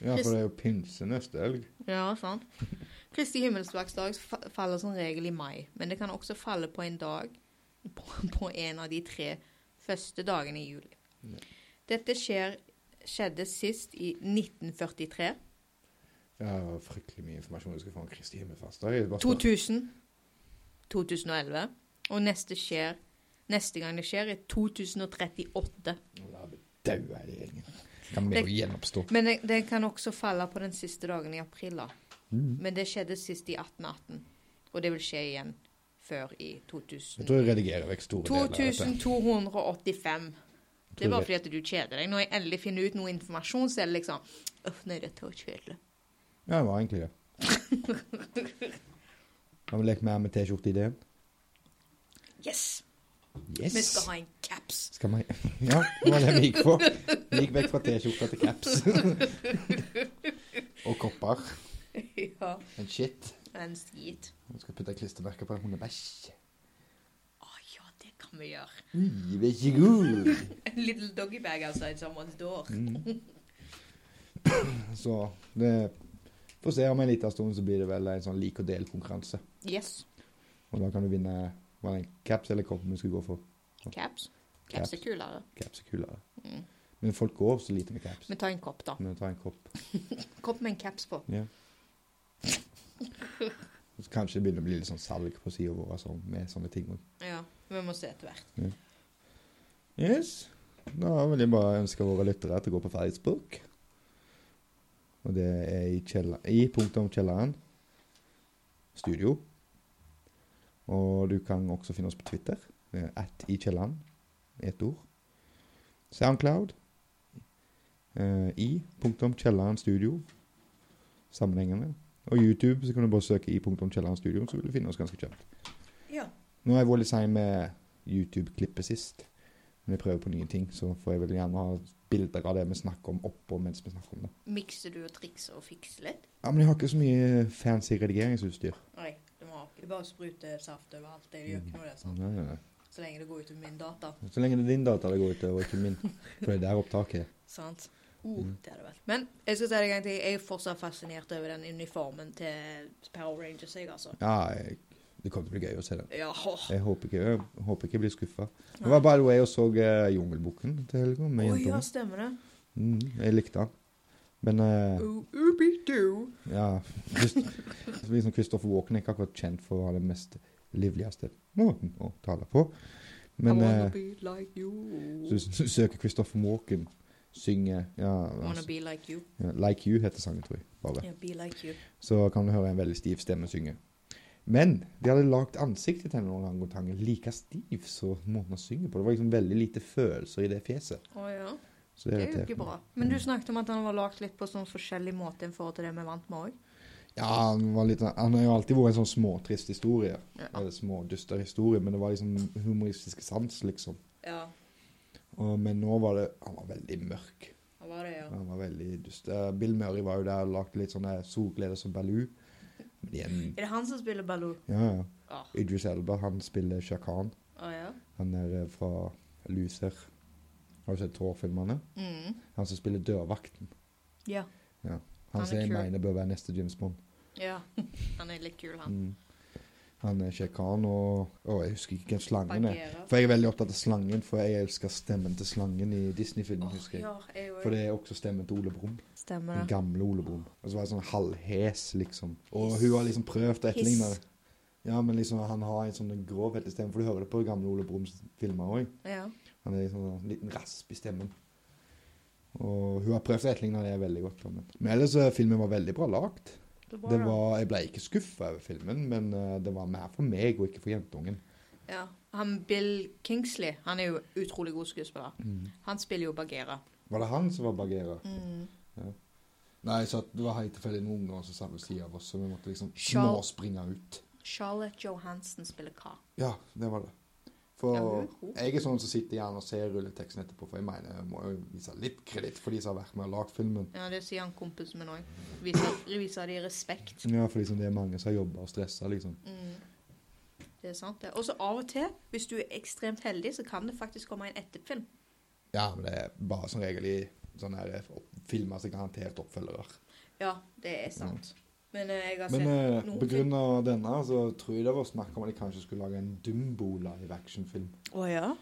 B: Ja, for det er jo pinse neste helg.
A: Ja, sant. Kristi himmelsverksdag fa- faller som regel i mai, men det kan også falle på en dag på, på en av de tre første dagene i juli.
B: Ja.
A: Dette skjer, skjedde sist i 1943.
B: Ja, det var fryktelig mye informasjon jeg skal få om Kristi himmelfartsdag. Jeg bare spør-
A: 2000. 2011. Og neste, skjer, neste gang det skjer, er 2038.
B: Nå La meg daue hele gjengen. Kan vi
A: Det-
B: jo gjenoppstå?
A: Men det, det kan også falle på den siste dagen i april. da.
B: Mhm.
A: Men det skjedde sist i 1818, og det vil skje igjen før i
B: Jeg
A: 2000.
B: tror jeg redigerer vekk store deler av dette.
A: 2285. Det
B: Tror
A: er bare
B: jeg-
A: fordi at du kjeder deg. Når jeg endelig finner ut noe informasjon, så er det liksom Uff, nei, dette var kjedelig.
B: Ja, det var egentlig det. Har vi lekt mer med T-skjorte-ideen?
A: Yes!
B: Yes!
A: Vi skal ha en caps.
B: Skal vi... Ja, det var det vi gikk for. Vi gikk vekk fra T-skjorta til caps. Og kopper.
A: ja.
B: En shit.
A: En skit.
B: Vi skal putte klistremerker på en hundebæsj.
A: Å ja, det kan vi gjøre.
B: Ui, vær så god!
A: En altså, little doggybag outside someone's door.
B: Mm. Så Mm. det Få se om en liten stund så blir det vel en sånn lik og del-konkurranse.
A: Yes.
B: Og da kan du vinne var det en caps eller koppen du skulle gå for.
A: Caps.
B: Caps.
A: Caps er kulere.
B: Caps er kulere.
A: Mm.
B: Men folk går så lite med caps.
A: Men ta en kopp, da.
B: Men ta en kopp.
A: Kopp med en caps på.
B: Ja. Så kanskje det begynner å bli litt sånn salg på sida vår altså, med sånne ting. også.
A: Ja, vi må se etter hvert.
B: Yes. Da vil jeg bare ønske våre lyttere til å gå på Facebook. Og det er i, kjeller, i punktet om kjelleren. Studio. Og du kan også finne oss på Twitter. eh, At i kjelleren. Ett ord. Soundcloud. eh, I punktum kjelleren studio. Sammenhengende. Og YouTube så kan du bare søke i punktum kjelleren studio, så vil du finne oss ganske kjapt.
A: Ja.
B: Nå er jeg veldig sein med YouTube-klippet sist. Men jeg prøver på nye ting, så får jeg veldig gjerne ha bilder av det vi snakker om oppå mens vi snakker om det.
A: Mikser du og trikser og fikser litt?
B: Ja, Men jeg har ikke så mye fancy redigeringsutstyr.
A: Nei, du må ikke bare sprute saft overalt. Det gjør ikke noe, det. sant?
B: Nei, nei, nei.
A: Så lenge det går ut av min data.
B: Så lenge det er din data det går ut over, ikke min. For det er der opptaket er.
A: Sant? Uh,
B: Mm.
A: det er det vel. Men jeg skal si det en gang til, jeg er fortsatt fascinert over den uniformen til Power Rangers, jeg, altså.
B: Ja, jeg- det kommer til å bli gøy å se den.
A: Ja, åh.
B: Jeg håper ikke jeg, håper ikke jeg blir skuffa. Det var by the way jeg så eh, Jungelboken til helga med
A: Å ja,
B: jentungen.
A: stemmer det.
B: Mm, jeg likte den. Men eh,
A: Oh, Ooby-doo.
B: Ja. Christ, liksom Christopher Walken er ikke akkurat kjent for å ha den mest livligste måten å tale på. Men
A: I wanna
B: eh,
A: be like you.
B: så s- s- søker Christopher Walken synge ja,
A: Wanna
B: altså,
A: be like you.
B: ja, Like You heter sangen, tror jeg. bare.
A: Yeah, be like you.
B: Så kan du høre en veldig stiv stemme synge. Men de hadde lagd ansiktet til henne noen ganger like stiv som måten hun synger på. Det var liksom veldig lite følelser i det fjeset.
A: Å ja. Det
B: Så det
A: er jo
B: irriterte
A: ikke
B: meg.
A: bra. Men du snakket om at han var lagd litt på sånn forskjellig måte enn forhold til det vi vant med òg.
B: Ja, han, var litt, han har jo alltid vært en sånn småtrist historie.
A: Ja.
B: Eller smådyster historie, men det var liksom humoristisk sans, liksom.
A: ja.
B: Og, men nå var det Han var veldig mørk.
A: Han var det, ja.
B: Han var veldig dust. Eh, Bill Murray var jo der og lagde litt sånne solgleder som Baloo. Men igjen
A: Er det han som spiller Baloo?
B: Ja, ja.
A: Å
B: Idris Elba, han spiller Shakan.
A: Å, ja.
B: Han er eh, fra Lucer. Har du sett Thor-filmene?
A: Mm.
B: Han som spiller dørvakten.
A: ja. Han
B: Han
A: er
B: som jeg
A: kul.
B: mener bør være neste James Bond.
A: Ja. Han er litt kul, han.
B: Mm. Han er Shakan og Å, jeg husker ikke hvem slangen er.
A: Bagheera.
B: For jeg er veldig opptatt av slangen, for jeg elsker stemmen til slangen i Disney-filmen,
A: Åh,
B: husker jeg.
A: ja, jeg
B: For
A: òg.
B: det er også stemmen til Ole Brumm. Den
A: Stemmer det.
B: gamle Ole Brumm. Og så var det sånn halvhes, liksom. Og hun har liksom prøvd å etterligne det. Ja, men liksom han har en sånn grovhet i stemmen, for du hører det på gamle Ole Brums filmer òg.
A: Ja.
B: Han er liksom en liten rasp i stemmen. Og hun har prøvd å etterligne det veldig godt. Men, men ellers eh, filmen var veldig bra lagt.
A: Det
B: Det var, jeg ble ikke skuffa over filmen, men eh, det var mer for meg og ikke for jentungen.
A: Ja. Han Bill Kingsley, han er jo utrolig god skuespiller.
B: Mm.
A: Han spiller jo Bagheera.
B: Var det han som var Bagheera?
A: Mm.
B: Nei, så at det var helt tilfeldig noen unger som satt ved siden av oss, så vi måtte liksom
A: Charl-
B: småspringe ut.
A: Charlotte Johansen spiller hva?
B: Ja, det var det.
A: Ja,
B: For
A: hun- hun-
B: jeg er sånn som sitter gjerne og ser rulleteksten etterpå, for jeg mener jeg må jo vise litt kreditt for de som har vært med og lagd filmen.
A: Ja, det sier han kompisen min òg. Viser, viser de respekt.
B: Ja, for liksom det er mange som har jobba og stressa, liksom.
A: Mm. Det er sant, det. Og så av og til, hvis du er ekstremt heldig, så kan det faktisk komme en etterfilm.
B: Ja, men det er bare som regel i sånne her opp- filmer som garantert oppfølgere.
A: Ja, det er sant. Men eh, jeg har
B: Mm. Men
A: sett
B: eh,
A: noen
B: på grunn av denne så tror jeg det var snakk om at de kanskje skulle lage en Dumbo-live action-film.
A: Å ja?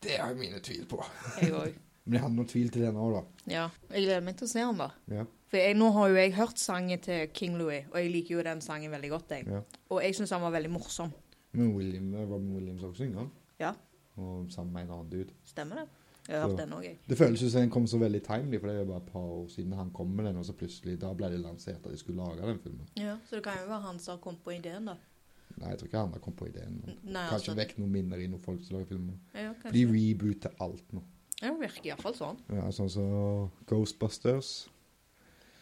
B: Det har jeg mine tvil på.
A: Jeg òg.
B: Men jeg hadde noen tvil til denne òg, da.
A: Ja. Jeg gleder meg til å se den, da.
B: Ja.
A: For jeg, nå har jo jeg hørt sangen til King Louis, og jeg liker jo den sangen veldig godt, jeg.
B: Ja.
A: Og jeg syns han var veldig morsom.
B: Men William, Robin Williams også synger den.
A: Ja.
B: Og sammen med en annen dude.
A: Stemmer det? Jeg har
B: Så.
A: hørt den òg, jeg.
B: Det føles jo som den kom så veldig timely, for det er jo bare et par år siden han kom med den, og så plutselig da ble det lansert at de skulle lage den filmen.
A: Ja, så det kan jo være han som har kommet på ideen, da.
B: Nei, jeg tror ikke han har kommet på ideen, men
A: N- Nei,
B: kanskje
A: altså.
B: vekk noen minner i noen folk som lager filmer.
A: Ja,
B: For de
A: kanskje.
B: rebooter alt nå.
A: Ja, det virker iallfall sånn.
B: Ja, sånn som Ghostbusters.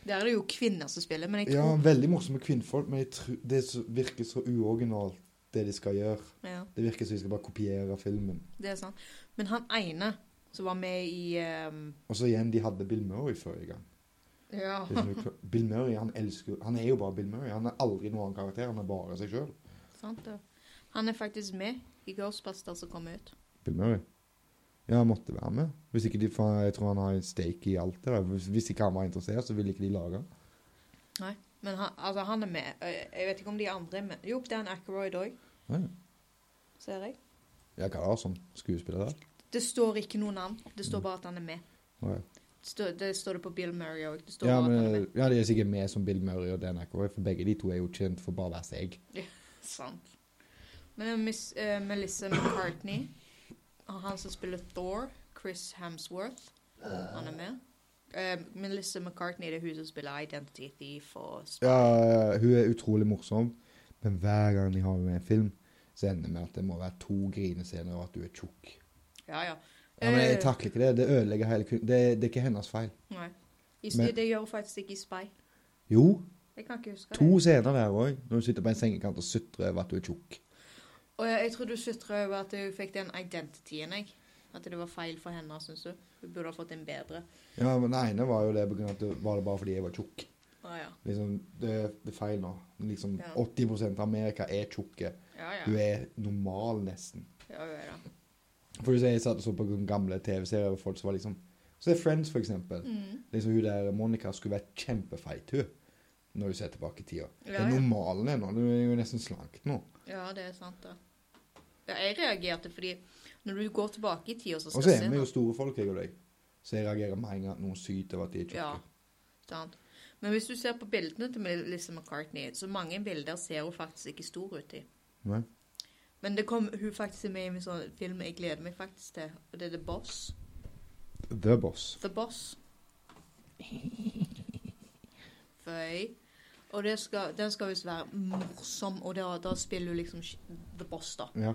A: Der er det jo kvinner som spiller, men jeg
B: Ja,
A: tror
B: veldig morsomme kvinnfolk, men jeg tror det er så- virker så uoriginalt det de skal gjøre.
A: ja.
B: Det virker som de skal bare kopiere filmen.
A: Det er sant. Men han ene som var med i ehm,
B: Og så igjen, de hadde Bill Murray før i gang.
A: Ja.
B: Det er sånn du klar- Bill Murray, han elsker jo Han er jo bare Bill Murray. Han er aldri noen annen karakter, han er bare seg sjøl.
A: Sant det. Han er faktisk med i Ghostbusters som kommer ut.
B: Bill Murray? Ja, han måtte være med. Hvis ikke de, for jeg tror han har en stake i alt det der. Hvis, hvis ikke han var interessert, så ville ikke de lage han.
A: Men han, altså, han er med. Jeg jeg vet ikke om de andre er med. Jo, Dan Ackroyd òg,
B: Ja, ja.
A: ser jeg.
B: Ja, hva er det som skuespiller der?
A: Det står ikke noe navn. Det står bare at han er med.
B: Ok.
A: Det står det, står det på Bill Murray òg. Det står
B: Ja,
A: bare at han er
B: men,
A: med.
B: ja, de er sikkert med som Bill Murray og Dan Aykroyd, for begge de to er jo kjent for bare å være seg.
A: Sant. Men det er Miss, eh, Melissa McCartney, og han som spiller Thor, Chris Hamsworth, han er med. Eh, Melissa McCartney det er hun som spiller Identity Thief og Sp-
B: Ja, hun er utrolig morsom, men hver gang de har med en film, så ender det med at det må være to grinescener og at du er tjukk.
A: Ja, ja.
B: Ja, men jeg
A: Eh,
B: takler ikke det. Det ødelegger hele kun... Det, det er ikke hennes feil.
A: Nei. I,
B: Men-
A: det gjør hun faktisk ikke i Spy.
B: Jo,
A: Jeg kan ikke huske
B: to
A: det.
B: scener der òg, når du sitter på en sengekant og sutrer over at du er tjukk.
A: Og jeg, jeg tror du sutrer over at hun fikk den identityen, jeg. At det var feil for henne, syns du. Hun burde ha fått en bedre.
B: Ja, men den ene var jo det på grunn av at det var det bare fordi jeg var tjukk.
A: Å ja.
B: Liksom, det, det er feil nå. Liksom,
A: Ja.
B: 80 av Amerika er tjukke.
A: Ja, ja.
B: Du er normal, nesten.
A: Ja, hun er det.
B: For du ser, jeg satt og så på gamle TV-serier over folk som var liksom Se Friends, for eksempel.
A: Mm.
B: Liksom Hun der Monica skulle vært kjempefeit, hun. Når du ser tilbake i tida.
A: Ja,
B: det er
A: ja.
B: normalen er nå. Du er jo nesten slank nå.
A: Ja, det er sant, da. Ja, jeg reagerte fordi når du går tilbake i tid og så
B: Og
A: skal
B: så er
A: se
B: vi jo
A: noe-
B: store folk, jeg og deg. Så jeg reagerer med en gang at noen syter over at de er
A: Ja,
B: tjukke.
A: sant. Men hvis du ser på bildene til Melissa McCartney, så mange bilder ser hun faktisk ikke stor ut i.
B: Nei.
A: Men det kom, hun faktisk er med i en sånn film jeg gleder meg faktisk til, og det er The Boss.
B: The Boss.
A: The Boss. Føy. Og det skal, den skal visst være morsom, og da, da spiller hun liksom sk- The Boss, da.
B: Ja.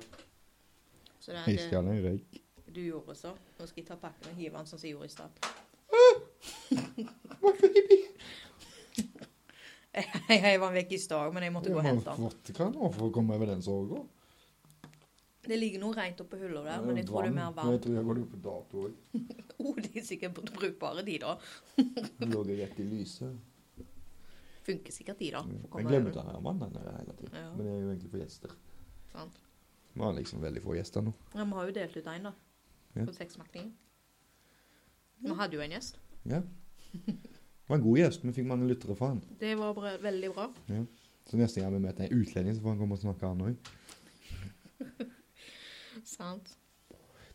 A: Så det,
B: Jeg
A: det,
B: skal ha en røyk.
A: du gjorde så. Nå skal jeg ta pakken og hive den sånn som jeg gjorde i stad. Jeg heiv den vekk i stad, men jeg måtte gå og hente den.
B: fått hva nå for å komme over den sorga?
A: Det ligger noe rent oppå hullet der, men jeg tror det er mer
B: Jeg
A: varmt.
B: tror jeg går ut på dato òg.
A: Oh, de er sikkert br- brukbare, de, da.
B: Lå jeg rett i lyset.
A: Funker sikkert, de, da. for å
B: Jeg
A: komme
B: glemte
A: over.
B: å ha mannen her hele tiden.
A: Ja.
B: Men jeg er jo egentlig for gjester.
A: Sant.
B: Vi har liksom veldig få gjester nå.
A: Ja, vi har jo delt ut en, da.
B: Ja.
A: På sexmakningen. Vi hadde jo en gjest.
B: Ja. Det var en god gjest, men fikk mange lyttere for han.
A: Det var bra, veldig bra.
B: Så neste gang vi møter en utlending, så får han komme og snakke han òg.
A: Sant.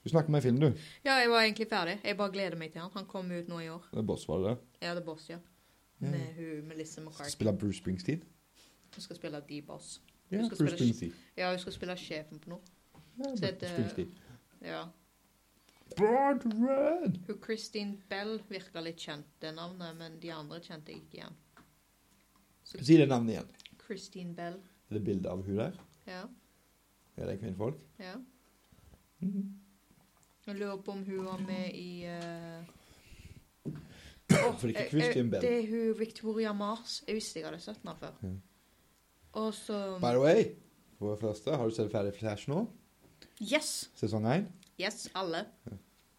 B: Du snakker med en film, du.
A: Ja, jeg var egentlig ferdig. Jeg bare gleder meg til han. Han kom ut nå i år.
B: Det er Boss, var det det?
A: Jeg hadde boss, ja.
B: Ja.
A: Med hun Melissa
B: Skal
A: McCarthy.
B: spille Bruce Springsteen?
A: Hun skal spille The Boss.
B: Ja,
A: Du skal spille-
B: Bruce Springsteen.
A: Ja, hun skal spille sjefen på noe.
B: Ja,
A: Så
B: Bruce
A: heter-
B: Springsteen.
A: Ja.
B: Broad Red!
A: Hun Christine Bell virka litt kjent, det navnet, men de andre kjente jeg ikke igjen. Så
B: Si det navnet igjen.
A: Christine Bell.
B: Er det bilde av hun der?
A: Ja.
B: Er det kvinnfolk?
A: ja. Mm.
B: Mhm.
A: Jeg lurer på om hun var med i eh,
B: For det er ikke
A: eh, eh,
B: Christian Bell.
A: Det er hun Victoria Mars. Jeg visste jeg hadde sett henne før.
B: Ja.
A: Og så
B: By the way, for det første, har du sett ferdig Flash nå?
A: Yes!
B: Sesong 1?
A: Yes, alle.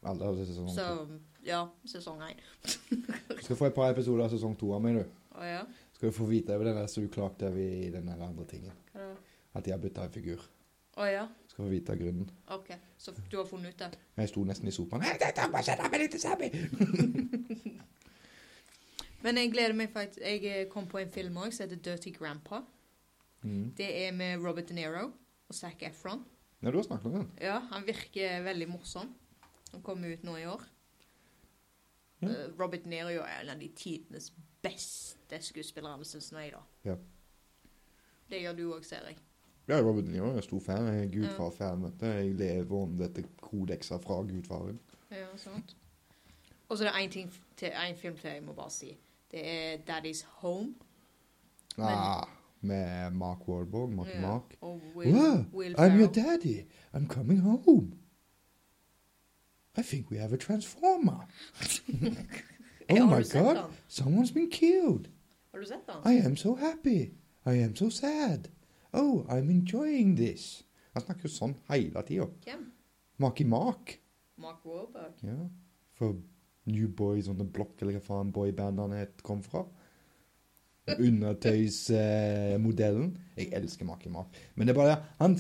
B: Alle har sett sesong 2.
A: Så ja, sesong én.
B: Du skal få et par episoder av sesong 2 av meg, du.
A: Å ja.
B: Skal du få vite over den der som du klagde over i den der andre tingen.
A: Hva da?
B: At de har bytta en figur.
A: Å ja.
B: Skal få vite grunnen.
A: OK. Så du har funnet ut det?
B: Jeg sto nesten i sopaen. Hei, dette må skje, det er litt sabi!
A: Men jeg gleder meg faktisk. Jeg eh, kom på en film òg som heter Dirty Grandpa.
B: Mm.
A: Det er med Robert De Niro og Zac Efron.
B: Ja, du har snakket om den.
A: Ja, han virker veldig morsom. Han kommer ut nå i år.
B: Ja.
A: Eh, Robert De Niro er en av de tidenes beste skuespillere, syns jeg, da.
B: Ja.
A: Det gjør du òg, ser jeg.
B: Ja, Robert De Niro er en stor fan. Jeg er
A: Ja.
B: Gudfar-fan. vet du. Jeg lever om dette kodekset fra Gudfaren.
A: Ja, sant. Og så er det én ting til, en film til jeg må bare si. Det er Daddy's Home.
B: Ah, med Mark Wahlberg, Mark
A: Ja,
B: Mark.
A: Og Will,
B: Wow,
A: Will
B: I'm your
A: Ferrell.
B: daddy. I'm coming home. I think we have a transformer.
A: Ja,
B: oh
A: har
B: my
A: du sett
B: god,
A: den?
B: someone's been killed.
A: Har du sett den?
B: I am so happy. I am so sad. Oh, I'm enjoying this. Han snakker jo sånn hele tida.
A: Hvem?
B: Maki Mark.
A: Mark Wahlberg.
B: Ja. For New Boys on the Block, eller hva faen boybandene het, kom fra. Undertøysmodellen. Eh, modellen. jeg elsker Maki Mark. Men det er bare det. Han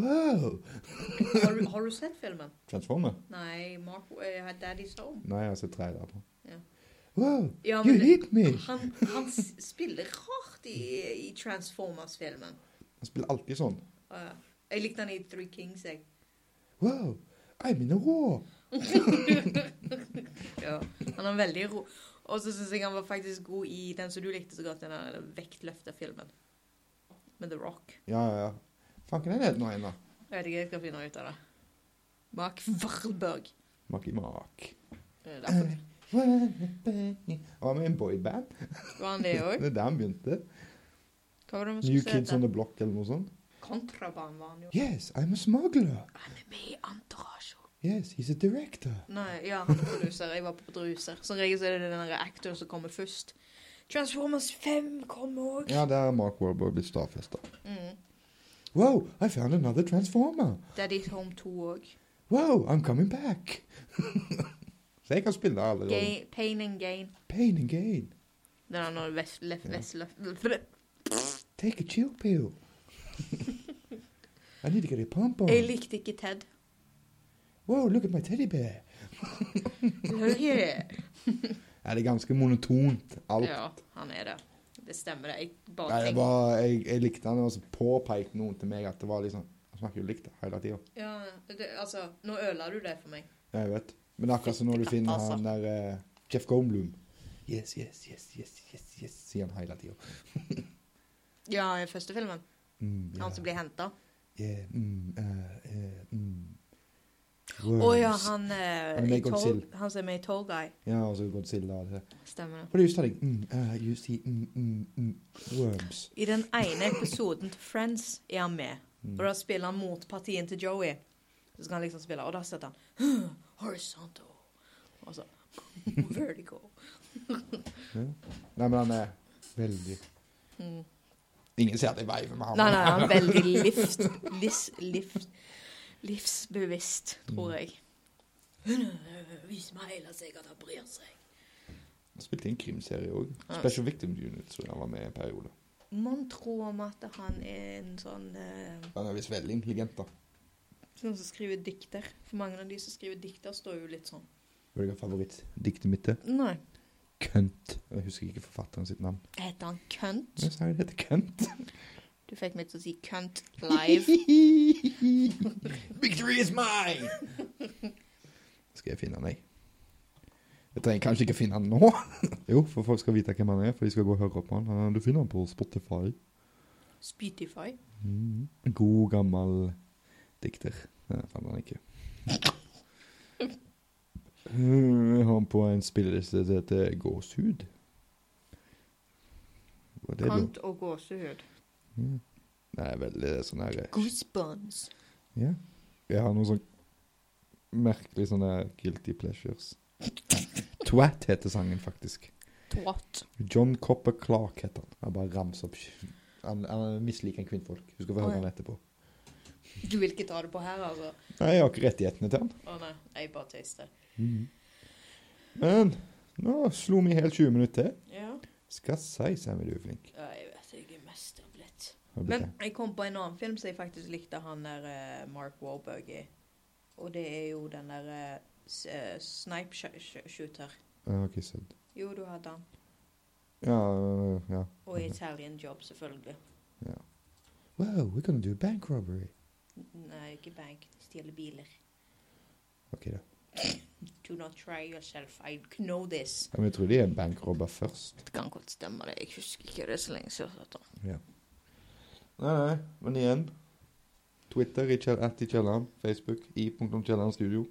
B: Wow!
A: Har du, har du sett filmen?
B: Transformer?
A: Nei, Mark, eh, Daddy's Home.
B: Nei, jeg har sett tre der på.
A: Ja.
B: Wow,
A: Ja,
B: you
A: men det-
B: hit me!
A: han, han s- spiller rart i, i Transformers-filmen.
B: Han spiller alltid sånn.
A: Ja. jeg likte han i Three Kings, jeg.
B: Wow, I'm in a war!
A: Ja, han er veldig ro. Og så syns jeg han var faktisk god i den som du likte så godt, den der vektløfterfilmen. Med The Rock.
B: Ja, ja, ja. Faen, hva er det nå igjen, da?
A: Jeg vet ikke, jeg skal finne ut av det. Mark Warburg.
B: Maki Mak.
A: Det er derfor.
B: Han var med i en boyband.
A: Var han det òg?
B: Det er der han begynte.
A: Hva var det vi
B: New
A: skulle
B: Kids
A: se
B: on
A: etter?
B: the Block eller noe sånt.
A: Kontraband var han jo.
B: Yes, I'm a smuggler.
A: Han er med i Antorasjo.
B: Yes, he's a director.
A: Nei, ja, han er produser. Jeg var på produser. Som regel så er det den der actor som kommer først. Transformers 5 kommer òg.
B: Ja, der er Mark Warburg blitt stadfesta.
A: Mm.
B: Wow, I found another transformer.
A: Daddy's Home 2 òg.
B: Wow, I'm coming back. Så jeg kan spille alle roller.
A: Pain and Gain.
B: Pain and gain.
A: Den er når vest, lef,
B: Ja.
A: vest, lef.
B: Take a chill pill. I need to get a pump on.
A: Jeg likte ikke Ted.
B: Wow, look at my teddy bear.
A: Hører ikke det?
B: Er det er ganske monotont, alt.
A: Ja, han er det. Det stemmer, det. Jeg
B: Nei,
A: bare
B: det
A: tenkte
B: var, jeg, jeg likte han, og så påpekte noen til meg at det var liksom Han snakker jo likt hele tida.
A: ja, det, Altså, nå ødela du det for meg.
B: Ja, jeg vet. Men det er akkurat som når du finner
A: altså.
B: han der eh, Jeff Goldblum. Yes, yes, yes, yes, yes, yes, sier han hele tida.
A: Ja, i første filmen.
B: Mm,
A: Han som blir henta.
B: yeah, mm, eh, eh, mm.
A: Å
B: Worms.
A: ja, han, eh,
B: Han er med i
A: i Tall,
B: Godzilla.
A: han som er med i Tall Guy.
B: Ja, og så Godzilla og det der.
A: Stemmer det.
B: What are you studying? Mm, eh, you see mm, mm, mm, worms.
A: I den ene episoden til Friends er han med.
B: Mm.
A: Og da spiller han motpartien til Joey. Så skal han liksom spille, og da setter han horizontal. Og så vertical.
B: Nei, men han er veldig
A: Mm.
B: Ingen ser at jeg veiver med ham.
A: Nei, nei, han er veldig livs, livs, livs, livsbevisst, tror jeg. Vis meg hele seg at han bryr seg.
B: Han spilte i en krimserie òg.
A: Ja.
B: Special Victim Unit, så han var med i en periode.
A: Man tror om at han er en sånn eh,
B: Han er visst veldig intelligent, da.
A: Sånn som skriver dikter. For mange av de som skriver dikter, står jo litt sånn.
B: Hva er favorittdiktet mitt? er?
A: Nei.
B: Kønt. Jeg husker ikke forfatteren sitt navn.
A: Heter han kønt?
B: Jeg sa jo det heter Kønt.
A: Du fikk meg til å si kønt live.
B: Victory is mine! skal jeg finne han, jeg. Jeg trenger kanskje ikke finne han nå. jo, for folk skal vite hvem han er, for de skal gå og høre på han. Han- Du finner han på Spotify.
A: Spotify.
B: Mhm. En God, gammel dikter. Nei, fant han ikke. Mm, Jeg har han på en spilleliste som heter Gåshud. Hva er det, da?
A: Kant og gåsehud.
B: Ja. Det er veldig sånn her
A: Goosebumps.
B: Ja. Jeg har noen sånn merkelig sånne guilty pleasures. Twat heter sangen, faktisk.
A: Twat.
B: John Copper Clark heter han. Han bare ramser opp Han, han misliker en kvinnfolk. Du skal få høre
A: Å, ja.
B: han etterpå.
A: Du vil ikke ta det på her, altså?
B: Nei, jeg har ikke rettighetene til han.
A: Å nei, jeg bare tøyster. Mhm.
B: Men nå slo vi helt 20 minutter til.
A: Ja.
B: Skal si, Sammy, du er flink.
A: ja, jeg vet jeg er mest av blitt.
B: Har du blitt
A: Men
B: det?
A: jeg kom på en annen film som jeg faktisk likte han der eh, Mark Warburg i. Og det er jo den der eh, s- eh, Snipe sh- sh- Shooter.
B: Ja, ok, søtt.
A: Jo, du hadde han.
B: Ja, ja.
A: Og Italian Job, selvfølgelig.
B: Wow, we're gonna do a bank robbery.
A: Nei, ikke bank. Stjele biler.
B: Ok, da.
A: Do not try yourself. I know this.
B: Ja, Men jeg tror de er bankrobber først.
A: Det kan godt stemme det. Jeg husker ikke det så lenge siden.
B: Nei, nei, men igjen. Twitter i Kjell, at i Kjelleren. Facebook i punktum Kjelleren Studio.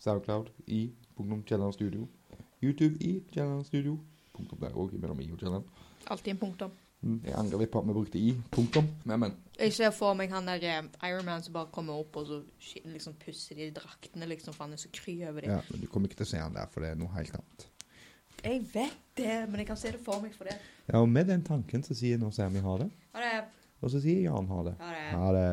B: Soundcloud i punktum Kjelleren Studio. YouTube i Kjelleren Studio. Punktum der òg, mellom i og Kjelleren.
A: Alltid en punktum.
B: Mm, Jeg angrer litt på at vi brukte i. Punktum. Men, men.
A: Jeg ser for meg han der eh, Iron Man som bare kommer opp og så sk- liksom pusser de draktene, liksom, for han er så kry over dem.
B: Ja, men du kommer ikke til å se han der, for det er noe helt annet.
A: Jeg vet det, men jeg kan se det for meg for det.
B: Ja, og med den tanken så sier nå Sammy ha det.
A: Ha det.
B: Og så sier Jan ha det.
A: Ha det.
B: Ha det.